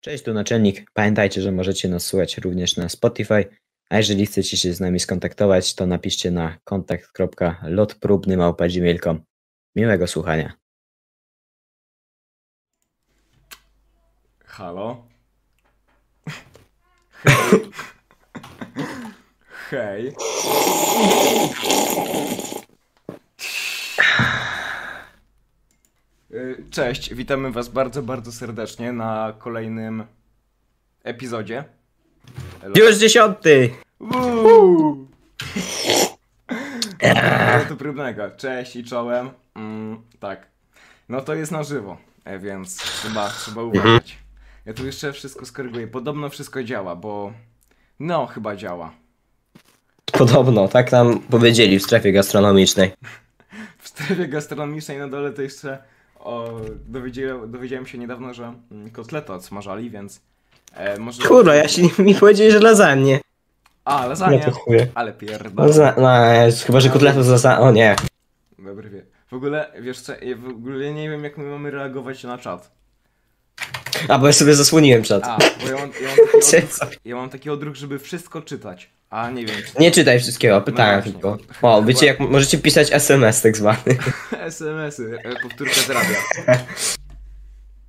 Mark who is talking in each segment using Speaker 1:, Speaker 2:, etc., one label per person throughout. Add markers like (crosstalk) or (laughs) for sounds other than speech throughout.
Speaker 1: Cześć, tu naczelnik. Pamiętajcie, że możecie nas słuchać również na Spotify, a jeżeli chcecie się z nami skontaktować, to napiszcie na kontakt.lotprobny.gmail.com. Miłego słuchania.
Speaker 2: Halo? Hej. Hej. Y, Cześć, witamy Was bardzo, bardzo serdecznie na kolejnym epizodzie.
Speaker 1: Już dziesiąty!
Speaker 2: Uuu! Lotu próbnego. Cześć i czołem. Mm, tak. No to jest na żywo, e, więc trzeba, trzeba uważać. Ja tu jeszcze wszystko skoryguję. Podobno wszystko działa, bo. No, chyba działa.
Speaker 3: Podobno, tak nam powiedzieli w strefie gastronomicznej.
Speaker 2: W strefie gastronomicznej na dole to jeszcze o, dowiedziałem, dowiedziałem się niedawno, że mm, kotleta odsmażali, więc. E, może...
Speaker 3: Kurwa, ja się mi powiedzieli, że lasagne.
Speaker 2: A, lasagne.
Speaker 3: to chuj.
Speaker 2: Ale pierdolę.
Speaker 3: Laza... No, jest, chyba, że kotletów z lasagne. O nie.
Speaker 2: Dobry wie. W ogóle, wiesz co, ja w ogóle nie wiem jak my mamy reagować na czat.
Speaker 3: A, bo ja sobie zasłoniłem czat.
Speaker 2: A, bo ja mam, ja mam, taki, odruch,
Speaker 3: Sorry.
Speaker 2: ja mam taki odruch, żeby wszystko czytać. A, nie wiem, czy
Speaker 3: (laughs) Nie
Speaker 2: (laughs)
Speaker 3: czytaj wszystkiego, pytałem
Speaker 2: właśnie.
Speaker 3: tylko. O, wiecie, jak możecie pisać SMS tak zwany.
Speaker 2: SMS-y, e, powtórka z radia.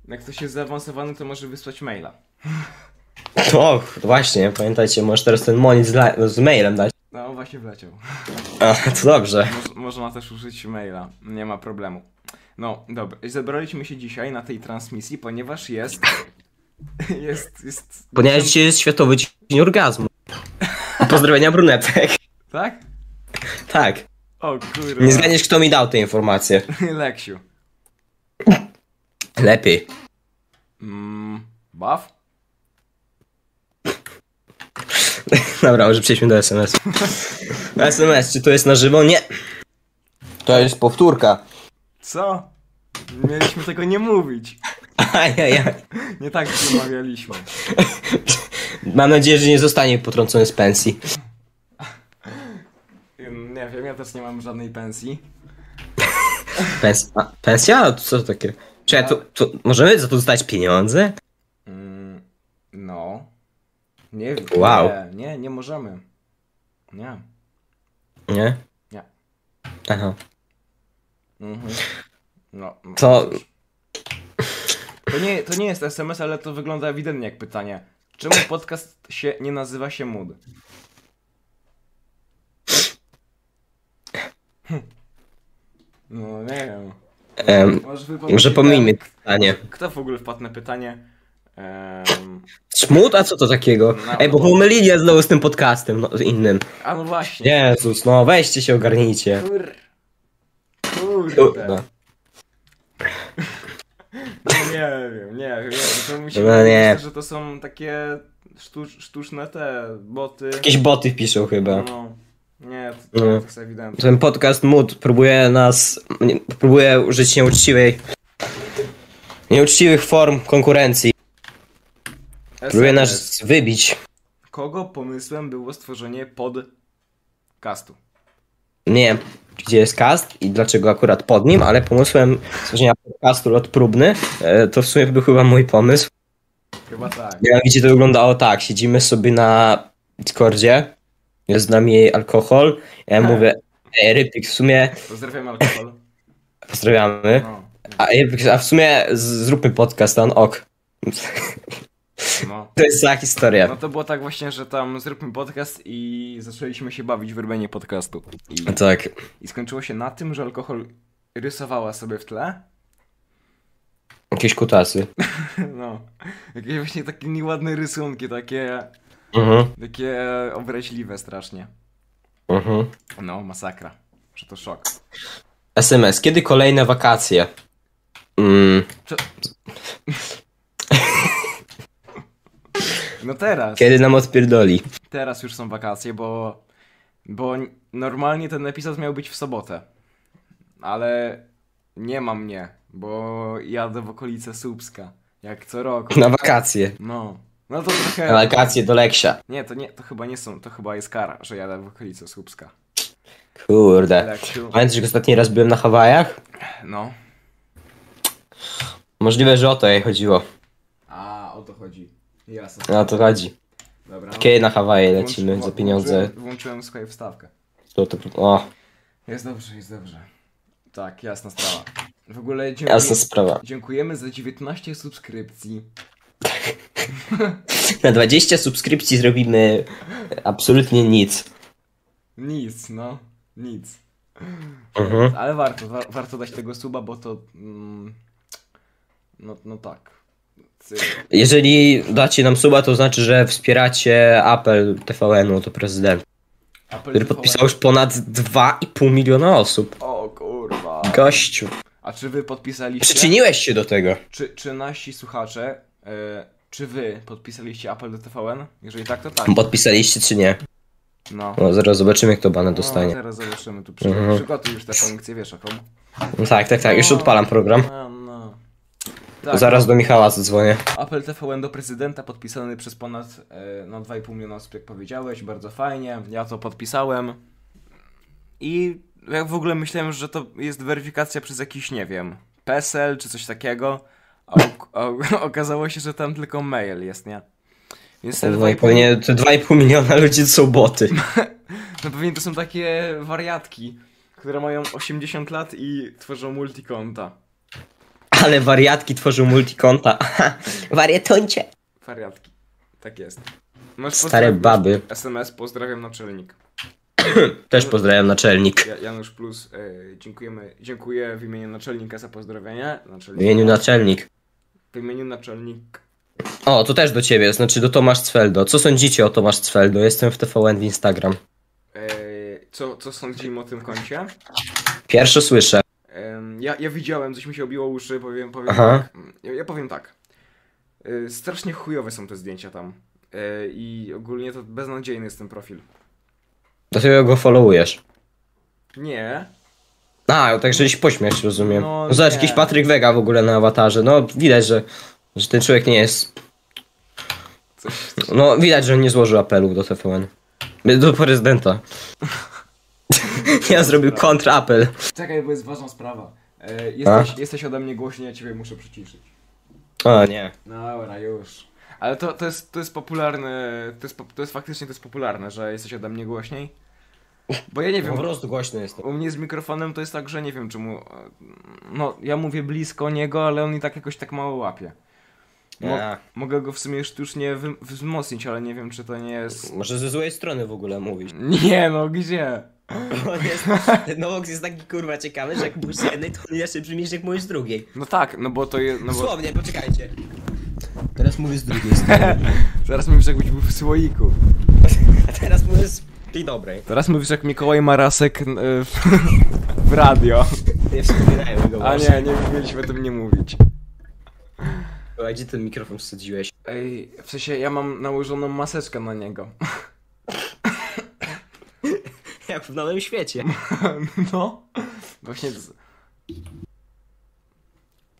Speaker 2: Jak ktoś jest zaawansowany, to może wysłać maila.
Speaker 3: O, właśnie, pamiętajcie, możesz teraz ten monit z, la... z mailem dać.
Speaker 2: No, właśnie wleciał.
Speaker 3: A, to dobrze.
Speaker 2: Moż, można też użyć maila, nie ma problemu. No, dobra, zebraliśmy się dzisiaj na tej transmisji, ponieważ jest... (laughs) Jest, jest...
Speaker 3: Ponieważ dzisiaj jest Światowy Dzień Orgazmu. Pozdrowienia brunetek.
Speaker 2: Tak?
Speaker 3: Tak.
Speaker 2: O kurwa.
Speaker 3: Nie zgadniesz, kto mi dał te informacje.
Speaker 2: Leksiu.
Speaker 3: Lepiej.
Speaker 2: Mm, baw?
Speaker 3: Dobra, może przejdźmy do SMS. SMS, czy to jest na żywo? Nie. To jest powtórka.
Speaker 2: Co? Mieliśmy tego nie mówić.
Speaker 3: Ajajaj.
Speaker 2: Nie tak się umawialiśmy.
Speaker 3: Mam nadzieję, że nie zostanie potrącony z pensji.
Speaker 2: Ym, Nie wiem, ja też nie mam żadnej pensji.
Speaker 3: Pens a, pensja? To co to takie? Czy ja tu, tu, możemy za to dostać pieniądze?
Speaker 2: Mm, No. Nie wiem.
Speaker 3: Wow.
Speaker 2: Nie, nie, nie możemy. Nie.
Speaker 3: Nie?
Speaker 2: Nie.
Speaker 3: Aha.
Speaker 2: Mhm. No. no
Speaker 3: To-
Speaker 2: cóż. To nie, to nie jest SMS, ale to wygląda ewidentnie jak pytanie. Czemu podcast się nie nazywa się Mood? Hm. No nie wiem.
Speaker 3: Em,
Speaker 2: Może, wypowiedzieć-
Speaker 3: może pomijmy to pytanie.
Speaker 2: Kto w ogóle wpadł na pytanie? Em,
Speaker 3: Smut? A co to takiego?
Speaker 2: No,
Speaker 3: Ej, bo
Speaker 2: no.
Speaker 3: pomylili ja znowu z tym podcastem no, z innym.
Speaker 2: a no właśnie.
Speaker 3: Jezus, no weźcie się, ogarnijcie.
Speaker 2: Kur... Kurde.
Speaker 3: Kurde.
Speaker 2: No nie wiem, nie wiem. To mi się
Speaker 3: No
Speaker 2: wydaje,
Speaker 3: nie.
Speaker 2: że to są takie sztucz, sztuczne te boty.
Speaker 3: Jakieś boty wpiszą chyba.
Speaker 2: No. Nie, to,
Speaker 3: No.
Speaker 2: to jest ewidentne.
Speaker 3: Ten podcast Mood próbuje nas, nie, próbuje użyć nieuczciwej, nieuczciwych form konkurencji. Próbuje
Speaker 2: SMS.
Speaker 3: nas wybić.
Speaker 2: Kogo pomysłem było stworzenie podcastu?
Speaker 3: Nie wiem, gdzie jest cast i dlaczego akurat pod nim, ale pomysłem stworzenia podcastu lot próbny, e, to w sumie był chyba mój pomysł.
Speaker 2: Chyba tak.
Speaker 3: Mianowicie to wyglądało tak, siedzimy sobie na Discordzie, jest z nami alkohol, ja mówię, ej Rypik w sumie,
Speaker 2: Pozdrawiam alkohol.
Speaker 3: pozdrawiamy,
Speaker 2: No,
Speaker 3: a, Rypik, a w sumie z, zróbmy podcast, a on ok. (laughs)
Speaker 2: no.
Speaker 3: To jest cała historia.
Speaker 2: No to było tak właśnie, że tam zróbmy podcast i zaczęliśmy się bawić w robienie podcastu. I,
Speaker 3: Tak.
Speaker 2: I skończyło się na tym, że alkohol rysowała sobie w tle.
Speaker 3: Jakieś kutasy.
Speaker 2: No. Jakieś właśnie takie nieładne rysunki, takie,
Speaker 3: Mhm,
Speaker 2: takie obraźliwe strasznie.
Speaker 3: mhm.
Speaker 2: No, masakra. Że to szok.
Speaker 3: SMS. Kiedy kolejne wakacje? Mm,
Speaker 2: No teraz,
Speaker 3: kiedy nam odpierdoli? (laughs)
Speaker 2: teraz już są wakacje, bo, bo normalnie ten epizod miał być w sobotę. Ale nie ma mnie, bo jadę w okolice Słupska. Jak co roku.
Speaker 3: Na wakacje.
Speaker 2: No. No to
Speaker 3: Na
Speaker 2: trochę.
Speaker 3: wakacje do Leksia.
Speaker 2: Nie, to nie, to chyba nie są, to chyba jest kara, że jadę w okolice Słupska.
Speaker 3: Kurde.
Speaker 2: Leksiu.
Speaker 3: Pamiętasz, jak ostatni raz byłem na Hawajach?
Speaker 2: No.
Speaker 3: Możliwe, że o to jej chodziło.
Speaker 2: A, o o to chodzi. Jasne.
Speaker 3: No to chodzi.
Speaker 2: Dobra.
Speaker 3: Okej, na Hawaje
Speaker 2: Włącz-
Speaker 3: lecimy za
Speaker 2: włą-
Speaker 3: pieniądze.
Speaker 2: Włączyłem, włączyłem swoje wstawkę.
Speaker 3: To, to, o,
Speaker 2: Jest dobrze, jest dobrze. Tak, jasna sprawa. W ogóle dziękuję,
Speaker 3: jasna sprawa.
Speaker 2: dziękujemy za 19 subskrypcji.
Speaker 3: Na 20 subskrypcji zrobimy absolutnie nic.
Speaker 2: Nic, no. Nic.
Speaker 3: Mhm.
Speaker 2: Ale warto, wa warto dać tego suba, bo to... Mm, no, no tak. Cy-
Speaker 3: Jeżeli dacie nam suba, to znaczy, że wspieracie Apple TVN-u, to prezydent,
Speaker 2: Apple
Speaker 3: który
Speaker 2: TV.
Speaker 3: podpisał już ponad 2,5 miliona osób.
Speaker 2: O kurwa.
Speaker 3: Gościu,
Speaker 2: A czy wy podpisaliście...
Speaker 3: przyczyniłeś się do tego.
Speaker 2: Czy, czy nasi słuchacze, e, czy wy podpisaliście apel do TVN? Jeżeli tak, to tak.
Speaker 3: Podpisaliście czy nie?
Speaker 2: No.
Speaker 3: No, zaraz zobaczymy, kto banę
Speaker 2: No,
Speaker 3: dostanie.
Speaker 2: teraz zobaczymy tu. Przy...
Speaker 3: Mhm.
Speaker 2: Przygotuj już tę funkcję, wiesz, jaką.
Speaker 3: No tak, tak, tak, już
Speaker 2: No.
Speaker 3: odpalam program.
Speaker 2: No, no. Tak,
Speaker 3: Zaraz do Michała zadzwonię.
Speaker 2: Apel TVN do prezydenta podpisany przez ponad e, no, 2,5 miliona osób, jak powiedziałeś. Bardzo fajnie. Ja to podpisałem. I ja w ogóle myślałem, że to jest weryfikacja przez jakiś, nie wiem, PESEL czy coś takiego. A, ok- a (laughs) okazało się, że tam tylko mail jest, nie? Więc
Speaker 3: No
Speaker 2: te 2,5
Speaker 3: Pewnie te 2,5 miliona ludzi to są boty.
Speaker 2: No pewnie to są takie wariatki, które mają 80 lat i tworzą multikonta.
Speaker 3: Ale wariatki tworzył multikonta. Wariatoncie.
Speaker 2: Wariatki. Tak jest. Masz
Speaker 3: Stare
Speaker 2: pozdra-
Speaker 3: baby.
Speaker 2: SMS, pozdrawiam naczelnik.
Speaker 3: Też pozdrawiam naczelnik.
Speaker 2: Ja, Janusz Plus, e, dziękujemy, dziękuję w imieniu naczelnika za pozdrowienia.
Speaker 3: W
Speaker 2: Naczelnik,
Speaker 3: imieniu naczelnik.
Speaker 2: w imieniu naczelnik.
Speaker 3: O, to też do ciebie, znaczy do Tomasz Cfeldo. Co sądzicie o Tomasz Cfeldo? Jestem w TVN w Instagram.
Speaker 2: E, co, co sądzimy o tym koncie?
Speaker 3: Pierwsze słyszę.
Speaker 2: Em, Ja, ja widziałem, coś mi się obiło uszy, powiem, powiem
Speaker 3: Aha.
Speaker 2: tak. Ja, ja powiem tak. Y, Strasznie chujowe są te zdjęcia tam. Y, I ogólnie to beznadziejny jest ten profil.
Speaker 3: Dlatego go followujesz.
Speaker 2: Nie.
Speaker 3: A, no także jakiś pośmiech, rozumiem.
Speaker 2: No,
Speaker 3: No, Zobacz,
Speaker 2: nie.
Speaker 3: jakiś Patryk Wega w ogóle na awatarze. No, widać, że, że ten człowiek nie jest...
Speaker 2: Coś,
Speaker 3: No, widać, że on nie złożył apelu do TVN. Do
Speaker 2: (laughs)
Speaker 3: prezydenta. ja zrobił kontrapel.
Speaker 2: Czekaj, bo jest ważna sprawa. Y,
Speaker 3: A?
Speaker 2: Jesteś, jesteś ode mnie głośny, ja ciebie muszę przyciszyć. No,
Speaker 3: O, nie.
Speaker 2: Dobra, już. Ale to, to jest to jest popularne. To jest, po- to jest faktycznie to jest popularne, że jesteś ode mnie głośniej. Bo ja nie wiem,
Speaker 3: Po prostu głośny jestem.
Speaker 2: U mnie z mikrofonem to jest tak, że nie wiem czemu. e, No, ja mówię blisko niego, ale on i tak jakoś tak mało łapie. Mo-
Speaker 3: Tak.
Speaker 2: Mogę go w sumie sztucznie wy- wzmocnić, ale nie wiem czy to nie jest.
Speaker 3: Może ze złej strony w ogóle mówisz.
Speaker 2: Nie no, gdzie?
Speaker 3: On jest, ten Nowox jest taki kurwa ciekawy, że jak mówisz z jednej, to on jeszcze brzmisz jak mówisz z drugiej.
Speaker 2: No tak, no bo to jest. No (laughs) bo...
Speaker 3: Dosłownie, poczekajcie. Teraz mówisz z drugiej strony,
Speaker 2: Teraz mówisz jakbyś był w słoiku.
Speaker 3: (laughs) a teraz mówisz z tej dobrej.
Speaker 2: Teraz mówisz jak Mikołaj Marasek n- e, w, (laughs) w radio.
Speaker 3: Nie wspominajmy go
Speaker 2: A
Speaker 3: właśnie.
Speaker 2: nie, nie mieliśmy o tym nie mówić.
Speaker 3: A gdzie ten mikrofon wsadziłeś? (laughs)
Speaker 2: Ej, w sensie ja mam nałożoną maseczkę na niego. (laughs)
Speaker 3: Jak w Nowym Świecie.
Speaker 2: No, właśnie. z-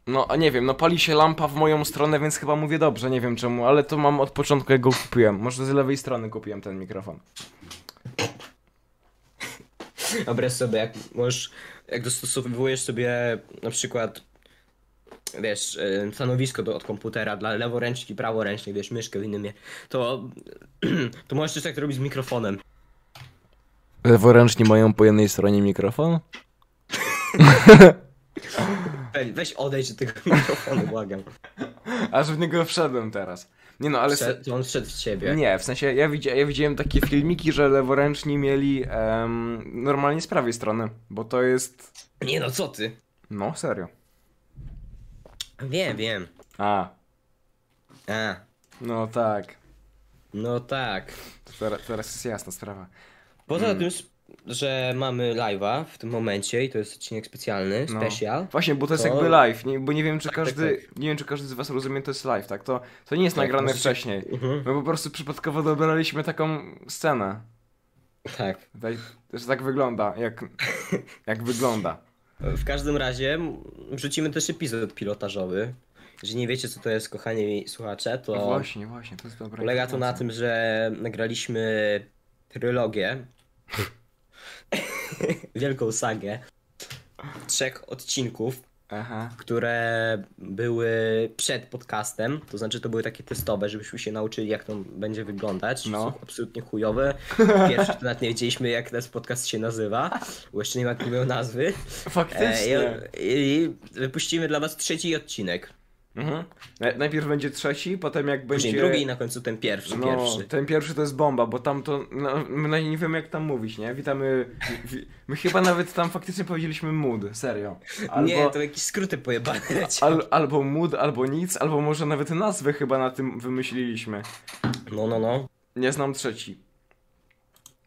Speaker 2: No, a nie wiem, no pali się lampa w moją stronę, więc chyba mówię dobrze, nie wiem czemu, ale to mam od początku, jak go kupiłem. Może z lewej strony kupiłem ten mikrofon.
Speaker 3: Wyobraź sobie, jak możesz, jak dostosowujesz sobie na przykład, wiesz, y, stanowisko do, od komputera dla leworęczki, praworęcznej, wiesz, myszkę w innym, je- to, (clears throat) to możesz też tak robić z mikrofonem.
Speaker 2: Leworęczni mają po jednej stronie mikrofon?
Speaker 3: Weź- Weź odejdź od tego (laughs) mikrofonu, błagam.
Speaker 2: (laughs) Aż w niego wszedłem teraz. Nie no, ale... se-
Speaker 3: Wszedł, on wszedł w ciebie.
Speaker 2: Nie, w sensie ja, widzia, ja widziałem takie filmiki, że leworęczni mieli em, normalnie z prawej strony, bo to jest...
Speaker 3: Nie no, co ty?
Speaker 2: No, serio.
Speaker 3: Wiem, wiem.
Speaker 2: A,
Speaker 3: A,
Speaker 2: no tak.
Speaker 3: no tak.
Speaker 2: To teraz, teraz jest jasna sprawa.
Speaker 3: Poza
Speaker 2: Hmm.
Speaker 3: tym, s- że mamy live'a w tym momencie i to jest odcinek specjalny,
Speaker 2: No.
Speaker 3: special.
Speaker 2: Właśnie, bo to jest
Speaker 3: To-
Speaker 2: jakby live, nie, bo nie wiem, czy
Speaker 3: tak,
Speaker 2: każdy, nie wiem, czy każdy z was rozumie, to jest live, tak? To, to nie jest
Speaker 3: Tak,
Speaker 2: nagrane
Speaker 3: możecie-
Speaker 2: wcześniej.
Speaker 3: Mhm.
Speaker 2: My po prostu przypadkowo dobraliśmy taką scenę.
Speaker 3: Tak.
Speaker 2: Daj, że tak wygląda, jak,
Speaker 3: (laughs)
Speaker 2: jak wygląda.
Speaker 3: W każdym razie m, wrzucimy też epizod pilotażowy. Jeżeli nie wiecie, co to jest, kochani słuchacze, to
Speaker 2: No Właśnie, właśnie, to jest dobre.
Speaker 3: polega to na tym, że nagraliśmy
Speaker 2: (laughs)
Speaker 3: trylogię. Wielką sagę. Trzech odcinków.
Speaker 2: Aha.
Speaker 3: które były przed podcastem, to znaczy to były takie testowe, żebyśmy się nauczyli jak to będzie wyglądać.
Speaker 2: No.
Speaker 3: Są absolutnie
Speaker 2: (laughs)
Speaker 3: chujowe. Pierwszy to nawet nie wiedzieliśmy jak ten podcast się nazywa, bo jeszcze nie ma takiej nazwy. E, i,
Speaker 2: Faktycznie.
Speaker 3: I wypuścimy dla was trzeci odcinek.
Speaker 2: Mhm. E, Najpierw będzie trzeci, potem jak będzie...
Speaker 3: Później drugi i na końcu ten pierwszy,
Speaker 2: No,
Speaker 3: pierwszy.
Speaker 2: ten pierwszy to jest bomba, bo tam to. No, my nie wiem jak tam mówić, nie? Witamy. wi- My chyba nawet tam faktycznie powiedzieliśmy mood, serio. Albo,
Speaker 3: Nie, to jakieś skróty
Speaker 2: (laughs)
Speaker 3: pojebane.
Speaker 2: al, albo mood, albo nic, albo może nawet nazwę chyba na tym wymyśliliśmy.
Speaker 3: No, no, no.
Speaker 2: Nie znam trzeci.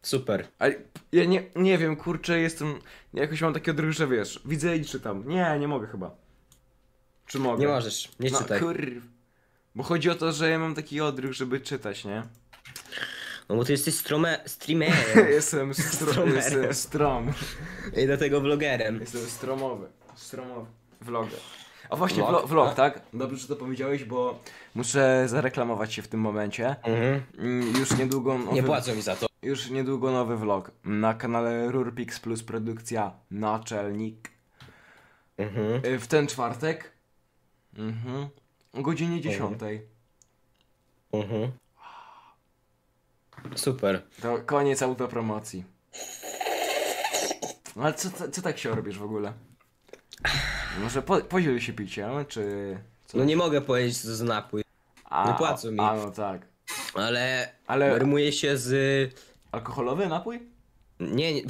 Speaker 3: Super.
Speaker 2: Ale ja nie, nie wiem, kurczę, jestem. Jakoś mam takie odruch, że wiesz, widzę i czytam. Nie, nie mogę chyba. Czy mogę?
Speaker 3: Nie możesz, nie
Speaker 2: no,
Speaker 3: czytaj.
Speaker 2: Kur... Bo chodzi o to, że ja mam taki odruch, żeby czytać, nie?
Speaker 3: No bo ty jesteś strome, streamerem
Speaker 2: (laughs) Jestem, stro...
Speaker 3: Stromerem.
Speaker 2: jestem strom.
Speaker 3: i do tego vlogerem.
Speaker 2: Jestem stromowy. Stromowy. Vloger. A właśnie,
Speaker 3: Vlog?
Speaker 2: vlog, vlog tak? Dobrze, że to powiedziałeś, bo muszę zareklamować się w tym momencie.
Speaker 3: Mhm.
Speaker 2: Mm, Już niedługo nowy,
Speaker 3: Nie płacą mi za to.
Speaker 2: już niedługo nowy vlog na kanale Rurpix Plus Produkcja Naczelnik.
Speaker 3: Mhm.
Speaker 2: Y, W ten czwartek mhm. o godzinie 10.
Speaker 3: Mhm. Super.
Speaker 2: To koniec autopromocji. No ale co, co, co tak się robisz w ogóle? Może po, podziel się piciem, czy... Co?
Speaker 3: No nie mogę powiedzieć co za napój,
Speaker 2: A,
Speaker 3: nie płacą mi.
Speaker 2: A no tak.
Speaker 3: ale,
Speaker 2: Ale-
Speaker 3: ale... rymuje się z...
Speaker 2: Alkoholowy napój?
Speaker 3: Nie, (laughs) nie...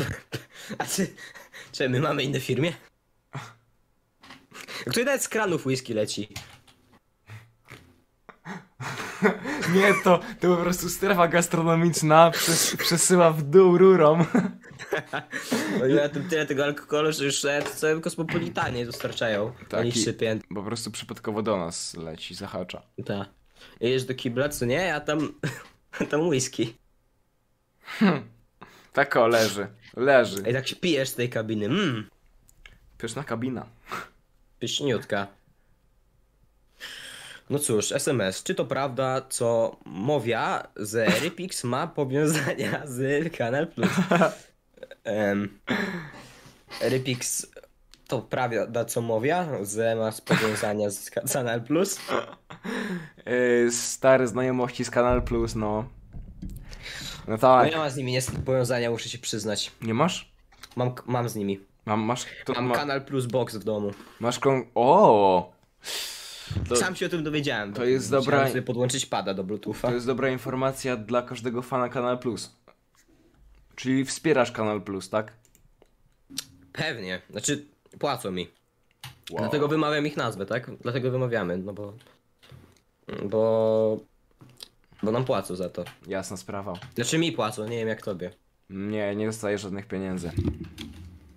Speaker 3: A ty... Czy my mamy inne firmie? (laughs) Który nawet z kranów whisky leci.
Speaker 2: Nie, to, to po prostu strefa gastronomiczna przes przesyła w dół rurą.
Speaker 3: Oni mają tam tyle tego alkoholu, że już nawet całe kosmopolitanie dostarczają.
Speaker 2: Taki-
Speaker 3: Taki... Oni sypię.
Speaker 2: Po prostu przypadkowo do nas leci, zahacza.
Speaker 3: Ta. Jedziesz do kibla, co nie? A tam... (laughs) a tam whisky.
Speaker 2: Tak o, leży. Leży.
Speaker 3: I tak się pijesz z tej kabiny. Mmm.
Speaker 2: Pyszna kabina.
Speaker 3: Pyszniutka. No cóż, SMS. Czy to prawda, co Mowia z Rypix ma powiązania z Kanal
Speaker 2: (laughs)
Speaker 3: Plus? Um, Rypix to prawda, co Mowia z ma powiązania z Ka- Kanal Plus? No
Speaker 2: Yy, stare znajomości z Kanal Plus, no. No
Speaker 3: No
Speaker 2: tak.
Speaker 3: ja mam z nimi niestety powiązania, muszę się przyznać.
Speaker 2: Nie masz?
Speaker 3: Mam, mam z nimi.
Speaker 2: Mam, masz... To,
Speaker 3: Mam
Speaker 2: ma,
Speaker 3: Kanal Plus Box w domu.
Speaker 2: masz kon... O! To,
Speaker 3: Sam się o tym dowiedziałem.
Speaker 2: to jest
Speaker 3: Musiałem
Speaker 2: dobra-
Speaker 3: sobie podłączyć pada do Bluetootha.
Speaker 2: to jest dobra informacja dla każdego fana Kanal Plus. Czyli wspierasz Kanal Plus, tak?
Speaker 3: Pewnie. Znaczy, płacą mi.
Speaker 2: Wow.
Speaker 3: Dlatego wymawiam ich nazwę, tak? Dlatego wymawiamy, no bo. Bo. Bo nam płacą za to.
Speaker 2: Jasna sprawa.
Speaker 3: Znaczy mi płacą, nie wiem jak tobie.
Speaker 2: Nie, nie dostaję żadnych pieniędzy.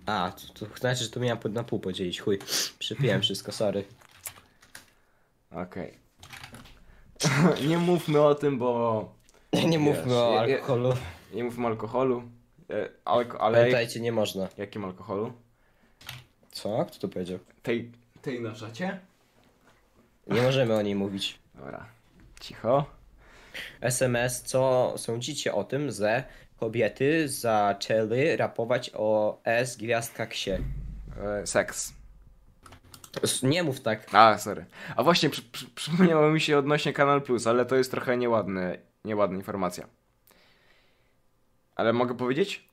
Speaker 3: A, to, to znaczy, że to miałem po- na pół podzielić, chuj. Przypiłem wszystko, sorry.
Speaker 2: Okej. (laughs) nie mówmy o tym, bo
Speaker 3: (laughs) Nie mówmy o
Speaker 2: je- je-
Speaker 3: alkoholu.
Speaker 2: nie mówmy o alkoholu. E, alko ale
Speaker 3: Pamiętajcie, nie można.
Speaker 2: jakim alkoholu?
Speaker 3: Co? Kto to powiedział?
Speaker 2: Tej, tej na czacie?
Speaker 3: Nie możemy o niej mówić.
Speaker 2: Dobra. Cicho.
Speaker 3: SMS, co sądzicie o tym, że kobiety zaczęły rapować o S gwiazdka ksie?
Speaker 2: E, seks.
Speaker 3: S- Nie mów tak.
Speaker 2: A, sorry. A właśnie przy, przy, przypomniało mi się odnośnie Kanal Plus, ale to jest trochę nieładne, nieładna informacja. Ale mogę powiedzieć?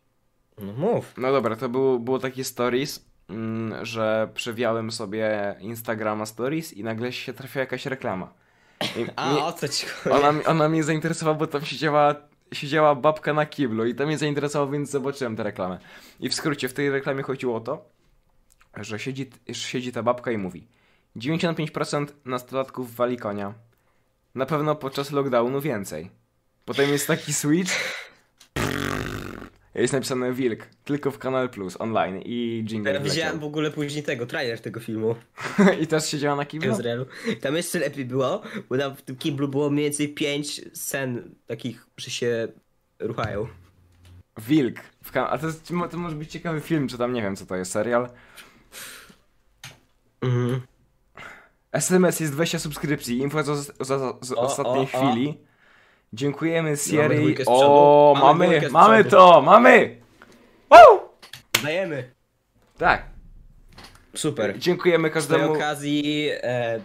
Speaker 3: No mów.
Speaker 2: No dobra, to było, było takie stories, mm, że przewiałem sobie Instagrama stories i nagle się trafiła jakaś reklama. I
Speaker 3: A,
Speaker 2: mnie-
Speaker 3: o co ci chodzi?
Speaker 2: ona, ona mnie zainteresowała, bo tam siedziała, siedziała babka na kiblu i to mnie zainteresowało, więc zobaczyłem tę reklamę. I w skrócie, w tej reklamie chodziło o to, że siedzi, siedzi ta babka i mówi 95% nastolatków wali konia. Na pewno podczas lockdownu więcej. Potem jest taki switch. Jest napisane Wilk, tylko w Kanal Plus, online i jingle
Speaker 3: Widziałem w
Speaker 2: wleciał. No.
Speaker 3: ogóle później tego, trailer tego filmu
Speaker 2: (laughs) I też siedziała na
Speaker 3: w
Speaker 2: kiblu?
Speaker 3: Izraelu. Tam jeszcze lepiej było, bo tam w tym kiblu było mniej więcej pięć scen takich, że się ruchają.
Speaker 2: Wilk. W kan- A to, jest, to może być ciekawy film, czy tam nie wiem co to jest, serial.
Speaker 3: Mhm.
Speaker 2: SMS jest 20 subskrypcji. Info z, z, z, z
Speaker 3: O,
Speaker 2: ostatniej
Speaker 3: o, o.
Speaker 2: chwili. Dziękujemy
Speaker 3: Mamy
Speaker 2: Siri.
Speaker 3: dwójkę z
Speaker 2: o,
Speaker 3: przodu. Mamy
Speaker 2: mamy,
Speaker 3: dwójkę z
Speaker 2: mamy
Speaker 3: przodu.
Speaker 2: to, mamy! Woo!
Speaker 3: Dajemy!
Speaker 2: Tak.
Speaker 3: Super.
Speaker 2: Dziękujemy
Speaker 3: Z tej
Speaker 2: każdemu.
Speaker 3: okazji e,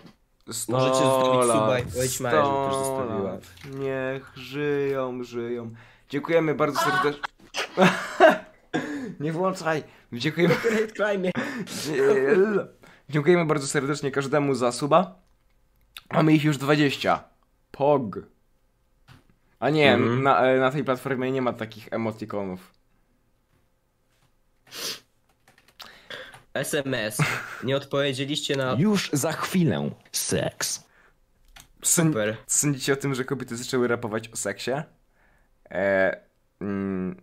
Speaker 2: Sto
Speaker 3: możecie zostawić
Speaker 2: lat,
Speaker 3: suba i powiedzieć Maja, żeby też
Speaker 2: sto
Speaker 3: zostawiła.
Speaker 2: lat. Niech żyją, żyją. Dziękujemy bardzo serdecznie. (laughs) Nie włączaj. Dziękujemy.
Speaker 3: Great Climb.
Speaker 2: Dziel. Dziękujemy bardzo serdecznie każdemu za suba. Mamy ich już 20. Pog. A nie,
Speaker 3: Mhm.
Speaker 2: na, e, na tej platformie nie ma takich emotikonów.
Speaker 3: SMS. Nie odpowiedzieliście na
Speaker 1: Już za chwilę seks.
Speaker 2: Syn-
Speaker 3: Super.
Speaker 2: Co Sądzicie o tym, że kobiety zaczęły rapować o seksie? E, mm,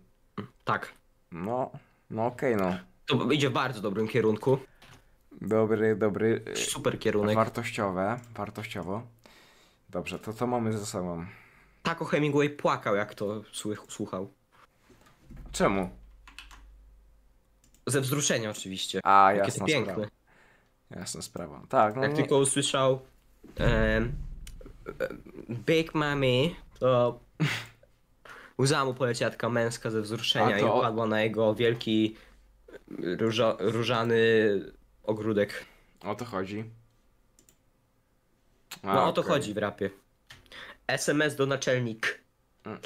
Speaker 3: tak.
Speaker 2: no, no okej, no.
Speaker 3: To idzie w bardzo dobrym kierunku.
Speaker 2: Dobry, dobry. e,
Speaker 3: Super kierunek.
Speaker 2: Wartościowe, wartościowo. Dobrze, to co mamy ze sobą?
Speaker 3: Taco Hemingway płakał, jak to słych- słuchał.
Speaker 2: Czemu?
Speaker 3: Ze wzruszenia oczywiście.
Speaker 2: A,
Speaker 3: Jakie to
Speaker 2: jasna sprawa.
Speaker 3: piękne.
Speaker 2: Jasna sprawa. Tak, no
Speaker 3: Jak
Speaker 2: nie,
Speaker 3: tylko usłyszał em, e, Big Mami, to łza mu poleciała taka męska ze wzruszenia
Speaker 2: A
Speaker 3: i
Speaker 2: to-
Speaker 3: upadła na jego wielki różo, różany ogródek.
Speaker 2: o to chodzi. A,
Speaker 3: No o to
Speaker 2: okej.
Speaker 3: chodzi w rapie. SMS do naczelnik.
Speaker 2: Mm.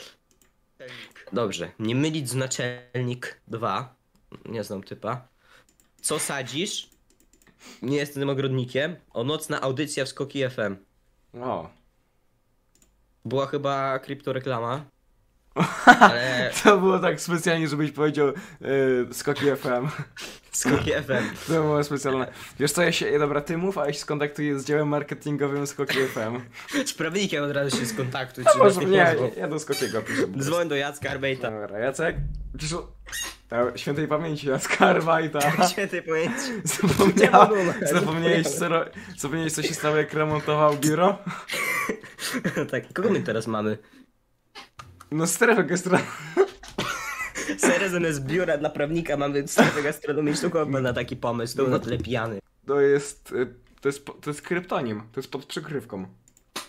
Speaker 3: Naczelnik. Dobrze, nie mylić z naczelnik 2. Nie znam typa. Co sadzisz? Nie jestem ogrodnikiem. O nocna audycja w Skoki FM.
Speaker 2: O,
Speaker 3: Była chyba kryptoreklama. Ale
Speaker 2: to było tak specjalnie, żebyś powiedział yy, skoki FM.
Speaker 3: Skoki FM.
Speaker 2: (laughs) To było specjalne. Wiesz co, ja się, dobra, ty mów, a ja się skontaktuję z działem marketingowym skoki FM.
Speaker 3: (laughs) Z prawnikiem od razu się skontaktuj.
Speaker 2: A
Speaker 3: czy nas
Speaker 2: może
Speaker 3: nie,
Speaker 2: nie,
Speaker 3: pozwą.
Speaker 2: ja do Skokiego piszę. po prostu.
Speaker 3: Dzwoń do Jacka Arbejta.
Speaker 2: Dobra, Jacek. Przyszło... Ta, świętej pamięci na
Speaker 3: (laughs)
Speaker 2: skarba i tam.
Speaker 3: Świętej pamięci. Nie ma
Speaker 2: Zapomniała,
Speaker 3: numeru.
Speaker 2: (laughs) zapomniałeś, co, ro- zapomniałeś, co się stało, jak remontował biuro?
Speaker 3: (laughs) tak, kogo my teraz mamy?
Speaker 2: No strefę gestra...
Speaker 3: Serio zamiast biura dla prawnika mamy strefę gastronomiczną, kogo ma na taki pomysł, to na tyle pijany.
Speaker 2: To jest... y, To jest, po- to jest kryptonim. To jest pod przykrywką.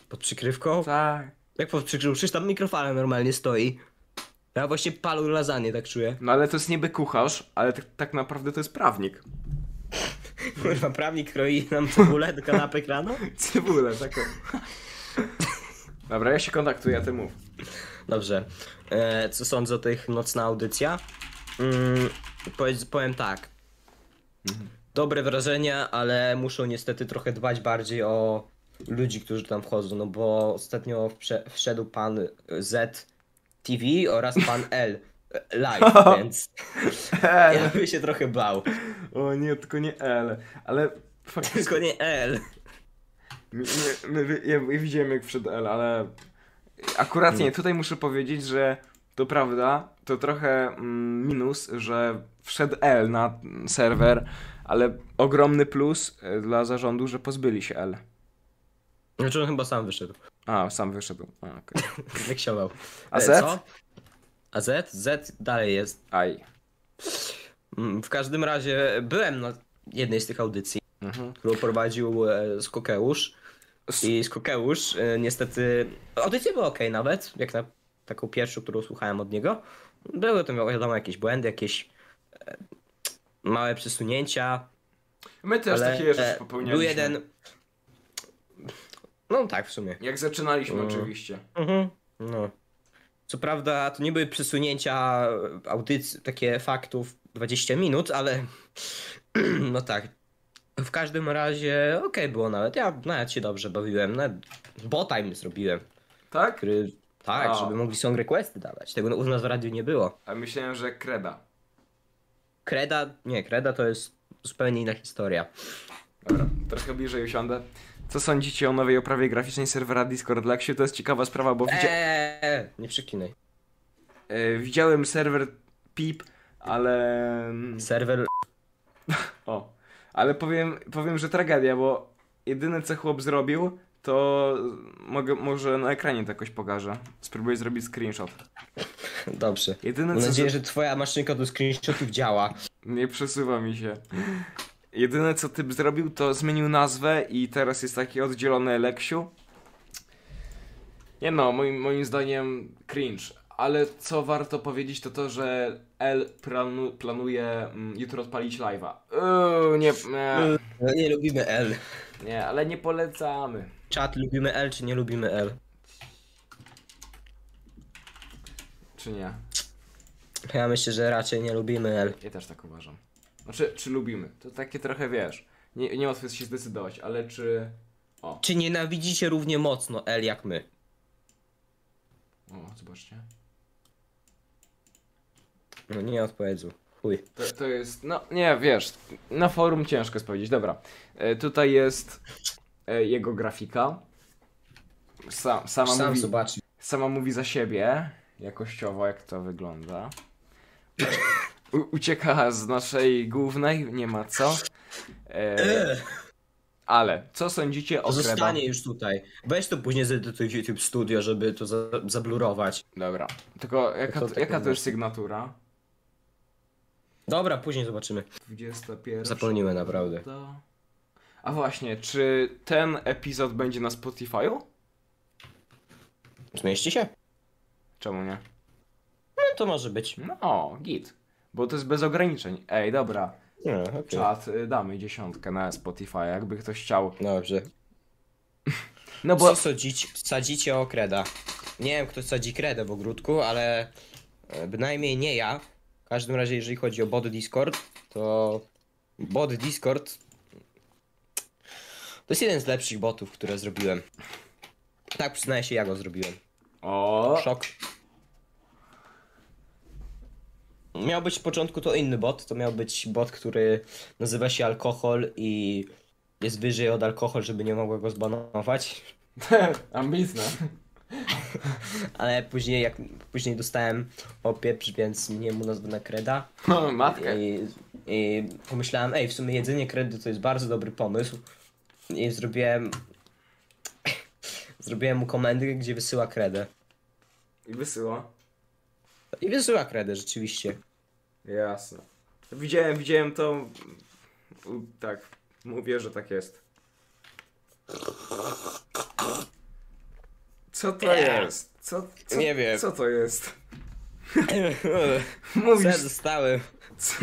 Speaker 3: Pod przykrywką?
Speaker 2: Tak.
Speaker 3: Jak pod przykrywką? Przecież tam mikrofala normalnie stoi. Ja właśnie palą lasagne, tak czuję.
Speaker 2: No ale to jest niby kucharz, ale tak, tak naprawdę to jest prawnik. (laughs)
Speaker 3: Kurwa, prawnik kroi nam cebulę do kanapek rano?
Speaker 2: Cebulę taką. Dobra, ja się kontaktuję, a ty mów.
Speaker 3: Dobrze. E, co sądzę o tych nocna audycja? Mm, powiedz, powiem tak.
Speaker 2: Mhm.
Speaker 3: Dobre wrażenia, ale muszą niestety trochę dbać bardziej o ludzi, którzy tam wchodzą, no bo ostatnio wprze- wszedł pan e, Z TV oraz
Speaker 2: (laughs)
Speaker 3: pan L e, live, więc ja bym się trochę bał.
Speaker 2: O nie, tylko nie L. Ale faktycznie...
Speaker 3: Tylko nie L.
Speaker 2: My, my, my, wy- ja, ja widziałem jak wszedł L, ale akurat nie, tutaj muszę powiedzieć, że to prawda, to trochę mm, minus, że wszedł L na mm, serwer, ale ogromny plus y, dla zarządu, że pozbyli się L.
Speaker 3: Znaczy on chyba sam wyszedł. (laughs)
Speaker 2: A, sam wyszedł. A, okej.
Speaker 3: Jak się bał.
Speaker 2: A
Speaker 3: E,
Speaker 2: Z?
Speaker 3: co? A Z? Z dalej jest.
Speaker 2: Aj.
Speaker 3: Mm, W każdym razie byłem na jednej z tych audycji,
Speaker 2: Mhm.
Speaker 3: którą prowadził e, Skokeusz.
Speaker 2: S-
Speaker 3: I Skokeusz e, niestety. Audycja była ok nawet, jak na taką pierwszą, którą słuchałem od niego. Były tam wiadomo jakieś błędy, jakieś e, małe przesunięcia.
Speaker 2: My też
Speaker 3: ale
Speaker 2: takie rzeczy
Speaker 3: e,
Speaker 2: popełnialiśmy.
Speaker 3: był jeden. No tak, w sumie.
Speaker 2: Jak zaczynaliśmy
Speaker 3: Mm.
Speaker 2: oczywiście.
Speaker 3: Mhm. No. Co prawda, to nie były przesunięcia e, audycji, takie faktów 20 minut, ale (clears throat) no tak. W każdym razie okej było nawet. Ja nawet się dobrze bawiłem. Nawet botajm zrobiłem,
Speaker 2: Tak?
Speaker 3: który tak,
Speaker 2: A.
Speaker 3: żeby mogli song requesty dawać. Tego u nas w radiu nie było.
Speaker 2: A myślałem, że kreda.
Speaker 3: Kreda, nie, kreda to jest zupełnie inna historia.
Speaker 2: Dobra, trochę bliżej usiądę. Co sądzicie o nowej oprawie graficznej serwera Discord Lexie? To jest ciekawa sprawa, bo widzia...
Speaker 3: Eee, nie przeklinaj.
Speaker 2: E, widziałem serwer PIP, ale. mm,
Speaker 3: Serwer (clears throat)
Speaker 2: O. Ale powiem, powiem, że tragedia, bo jedyne co chłop zrobił, to mogę, może na ekranie to jakoś pokażę. Spróbuję zrobić screenshot.
Speaker 3: dobrze.
Speaker 2: Jedyne
Speaker 3: Mam
Speaker 2: co.
Speaker 3: nadzieję,
Speaker 2: zro-
Speaker 3: że twoja maszynka do screenshotów działa.
Speaker 2: Nie przesuwa mi się. Jedyne co typ zrobił, to zmienił nazwę i teraz jest taki oddzielony Leksiu. Nie no, moim, moim zdaniem cringe. Ale co warto powiedzieć, to to, że L planu, planuje mm, jutro odpalić live'a. Eee, nie, nie,
Speaker 3: No nie lubimy L.
Speaker 2: nie, ale nie polecamy.
Speaker 3: Czat lubimy L czy nie lubimy L?
Speaker 2: Czy nie?
Speaker 3: Ja myślę, że raczej nie lubimy L.
Speaker 2: Ja też tak uważam. Znaczy, czy lubimy? To takie trochę wiesz. Nie, niełatwo jest się zdecydować, ale czy. O,
Speaker 3: Czy nienawidzicie równie mocno L jak my?
Speaker 2: o zobaczcie.
Speaker 3: No nie odpowiedzą. Chuj.
Speaker 2: To, to jest. No nie wiesz, na forum ciężko jest powiedzieć. Dobra. E, tutaj jest e, jego grafika. Sa, sama
Speaker 3: Sam
Speaker 2: mówi,
Speaker 3: zobaczy.
Speaker 2: sama mówi za siebie jakościowo, jak to wygląda. U, ucieka z naszej głównej, nie ma co. E, ale co sądzicie o Kreba?
Speaker 3: Zostanie już tutaj. Weź to później zedytuj w YouTube Studio, żeby to za zablurować.
Speaker 2: Dobra. Tylko jaka,
Speaker 3: To tak
Speaker 2: jaka to
Speaker 3: wygląda.
Speaker 2: jest sygnatura?
Speaker 3: Dobra, później zobaczymy.
Speaker 2: 21.
Speaker 3: Zapomniłem naprawdę.
Speaker 2: A właśnie, czy ten epizod będzie na Spotify'u?
Speaker 3: Zmieści się?
Speaker 2: Czemu nie?
Speaker 3: No to może być.
Speaker 2: No, git. Bo to jest bez ograniczeń. Ej, dobra.
Speaker 3: No, okej.
Speaker 2: Czat, y, damy dziesiątkę na Spotify, jakby ktoś chciał.
Speaker 3: Dobrze.
Speaker 2: No bo
Speaker 3: Co sadzić, sadzicie o kreda? Nie wiem, kto sadzi kredę w ogródku, ale e, bynajmniej nie ja. W każdym razie, jeżeli chodzi o bot Discord, to bot Discord to jest jeden z lepszych botów, które zrobiłem. Tak przyznaję się, ja go zrobiłem.
Speaker 2: O,
Speaker 3: Szok. Miał być w początku to inny bot, to miał być bot, który nazywa się alkohol i jest wyżej od alkohol, żeby nie mogło go zbanować.
Speaker 2: (laughs) (laughs) ambitne.
Speaker 3: Ale później jak później dostałem opieprz, więc zmieniłem mu nazwę na kreda
Speaker 2: Matkę.
Speaker 3: i, i pomyślałem, ej, w sumie jedzenie kredy to jest bardzo dobry pomysł. I zrobiłem zrobiłem mu komendy, gdzie wysyła kredę.
Speaker 2: I wysyła.
Speaker 3: I wysyła kredę
Speaker 2: (laughs)
Speaker 3: rzeczywiście.
Speaker 2: Jasne. Widziałem, widziałem to. U, Tak, mówię, że tak jest. Co to
Speaker 3: Eee.
Speaker 2: jest? Co, co,
Speaker 3: Nie wiem.
Speaker 2: Co to jest? Mówisz,
Speaker 3: Co dostałem?
Speaker 2: co,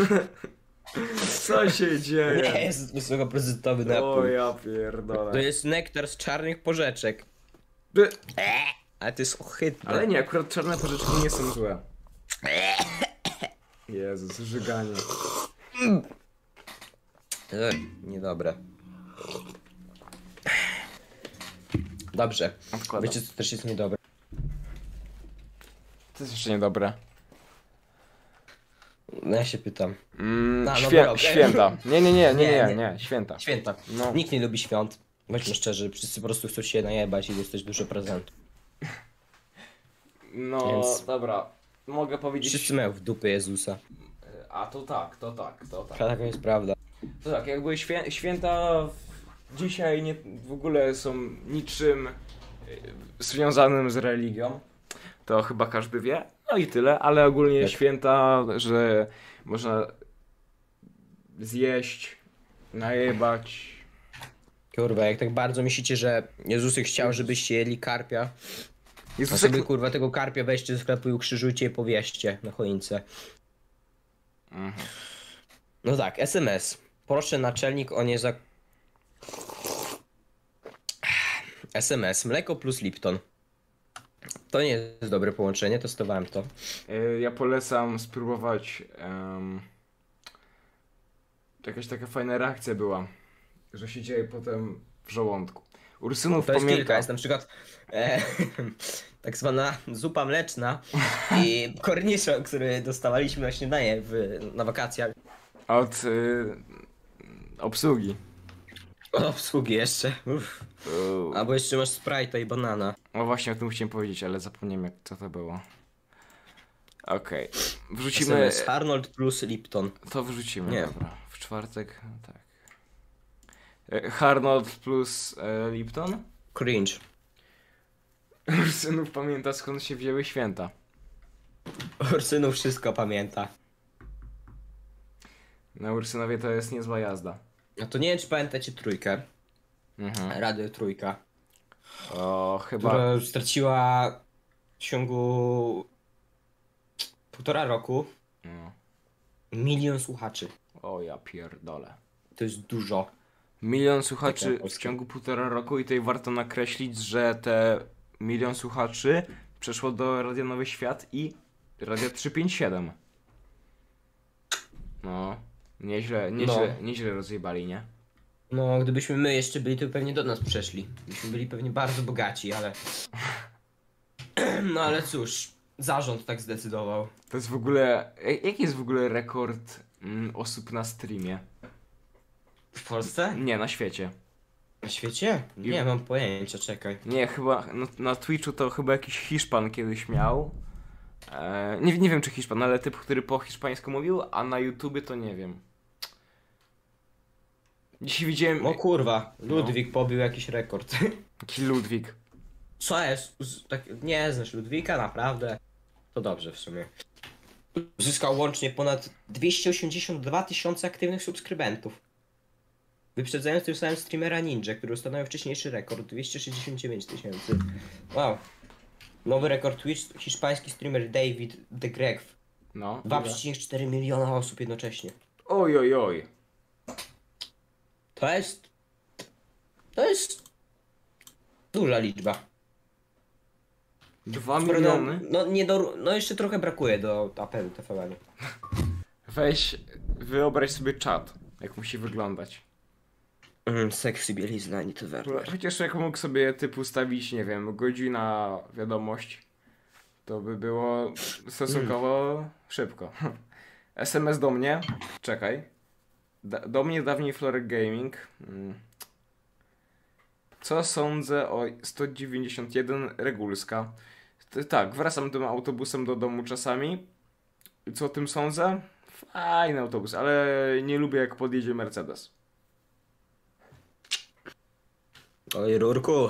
Speaker 2: co (laughs) się
Speaker 3: Nie
Speaker 2: dzieje?
Speaker 3: jest wysokoprocentowy
Speaker 2: O
Speaker 3: napój.
Speaker 2: No, ja
Speaker 3: To
Speaker 2: pierdolę.
Speaker 3: jest nektar z czarnych porzeczek.
Speaker 2: By-
Speaker 3: Ale to jest ohydne.
Speaker 2: Ale nie, akurat czarne porzeczki nie są złe. Jezus, żyganie.
Speaker 3: Ej, Niedobre. Dobrze.
Speaker 2: Odkładam.
Speaker 3: Wiecie, co też jest niedobre?
Speaker 2: To jest jeszcze niedobre.
Speaker 3: No ja się pytam.
Speaker 2: Mm,
Speaker 3: A, no
Speaker 2: świę,
Speaker 3: dobra, okej.
Speaker 2: Święta. Nie, nie, nie, nie,
Speaker 3: Nie,
Speaker 2: nie,
Speaker 3: nie.
Speaker 2: nie, święta.
Speaker 3: Święta.
Speaker 2: No.
Speaker 3: Nikt nie lubi świąt. Bądźmy szczerzy, wszyscy po prostu chcą się najebać i dostać dużo prezentów.
Speaker 2: No,
Speaker 3: Więc-
Speaker 2: dobra. Mogę powiedzieć.
Speaker 3: Wszyscy mają w dupy Jezusa.
Speaker 2: A to tak, to tak, to tak.
Speaker 3: Taka jest prawda.
Speaker 2: To tak, jakby świę, święta w- dzisiaj nie, w ogóle są niczym y, związanym z religią. To chyba każdy wie. No i tyle, ale ogólnie
Speaker 3: Tak.
Speaker 2: święta, że można zjeść, najebać.
Speaker 3: Kurwa, jak tak bardzo myślicie, że Jezusek chciał, żebyście jedli karpia, to
Speaker 2: Jezusek...
Speaker 3: sobie kurwa tego karpia weźcie ze sklepu i ukrzyżujcie i powieście na choince.
Speaker 2: Mhm.
Speaker 3: No tak, SMS. Proszę naczelnik o nie za... SMS. Mleko plus Lipton. To nie jest dobre połączenie, testowałem to.
Speaker 2: E, Ja polecam spróbować. em, jakaś taka fajna reakcja była, że się dzieje potem w żołądku. Ursynów
Speaker 3: To jest kilka,
Speaker 2: pamięta.
Speaker 3: jest na przykład e, (laughs) tak zwana zupa mleczna i korniszon, który dostawaliśmy na śniadanie w, na wakacjach.
Speaker 2: Od y, obsługi.
Speaker 3: O, obsługi jeszcze. Uff.
Speaker 2: A...
Speaker 3: Albo jeszcze masz Sprite'a i banana.
Speaker 2: No właśnie o tym chciałem powiedzieć, ale zapomniałem jak co to było. Okej. Wrzucimy.
Speaker 3: SMS. Arnold plus Lipton.
Speaker 2: To wrzucimy,
Speaker 3: Nie.
Speaker 2: dobra. W czwartek, tak. E, Harnold plus e, Lipton? (laughs)
Speaker 3: Cringe. (laughs)
Speaker 2: Ursynów pamięta skąd się wzięły święta.
Speaker 3: Ursynów wszystko pamięta.
Speaker 2: Na No, Ursynowie to jest niezła jazda.
Speaker 3: No to nie wiem, czy pamiętacie trójkę.
Speaker 2: Mhm.
Speaker 3: Radio Trójka.
Speaker 2: O, chyba.
Speaker 3: która straciła w ciągu półtora roku
Speaker 2: No.
Speaker 3: milion słuchaczy.
Speaker 2: O ja pierdolę.
Speaker 3: To jest dużo.
Speaker 2: Milion słuchaczy w
Speaker 3: Polskie.
Speaker 2: ciągu półtora roku i tutaj warto nakreślić, że te milion słuchaczy przeszło do Radia Nowy Świat i Radia 357. No, nieźle, nieźle, nieźle rozjebali, nie?
Speaker 3: No, gdybyśmy my jeszcze byli, to by pewnie do nas przeszli. Byśmy byli pewnie bardzo bogaci, ale... (clears throat) No ale cóż, zarząd tak zdecydował.
Speaker 2: To jest w ogóle, e- jaki jest w ogóle rekord mm, osób na streamie?
Speaker 3: W Polsce?
Speaker 2: Nie, na świecie.
Speaker 3: Na świecie? Nie
Speaker 2: Ju-
Speaker 3: mam pojęcia, czekaj.
Speaker 2: Nie, chyba no, na Twitchu to chyba jakiś Hiszpan kiedyś miał. E, nie, nie wiem czy Hiszpan, ale typ, który po hiszpańsku mówił, a na YouTubie to nie wiem. Dzisiaj widziałem
Speaker 3: O kurwa, Ludwik pobił jakiś rekord.
Speaker 2: taki Ludwik.
Speaker 3: Co jest? Z- Tak, nie znasz Ludwika, naprawdę. To dobrze w sumie. Uzyskał łącznie ponad 282 tysiące aktywnych subskrybentów. Wyprzedzając tym samym streamera Ninja, który ustanowił wcześniejszy rekord 269 tysięcy. Wow. Nowy rekord Twitch hiszpański streamer David de Greg.
Speaker 2: No.
Speaker 3: 2,4 miliona osób jednocześnie.
Speaker 2: Oj, oj, oj.
Speaker 3: To jest. To jest. Duża liczba.
Speaker 2: Dwa
Speaker 3: No,
Speaker 2: miliony.
Speaker 3: no, nie do, no jeszcze trochę brakuje do apelu TVN.
Speaker 2: Weź, wyobraź sobie czat, jak musi wyglądać.
Speaker 3: Mm, sexy bielizna Anity
Speaker 2: Bo Chociaż jak mógł sobie typ ustawić, nie wiem, godzina wiadomość, to by było stosunkowo szybko. (laughs) SMS do mnie, czekaj. Da, do mnie dawniej Florek Gaming. Mm. Co sądzę o 191 Regulska? T- tak, wracam tym autobusem do domu czasami. Co o tym sądzę? Fajny autobus, ale nie lubię jak podjedzie Mercedes.
Speaker 3: Oj, Rurku.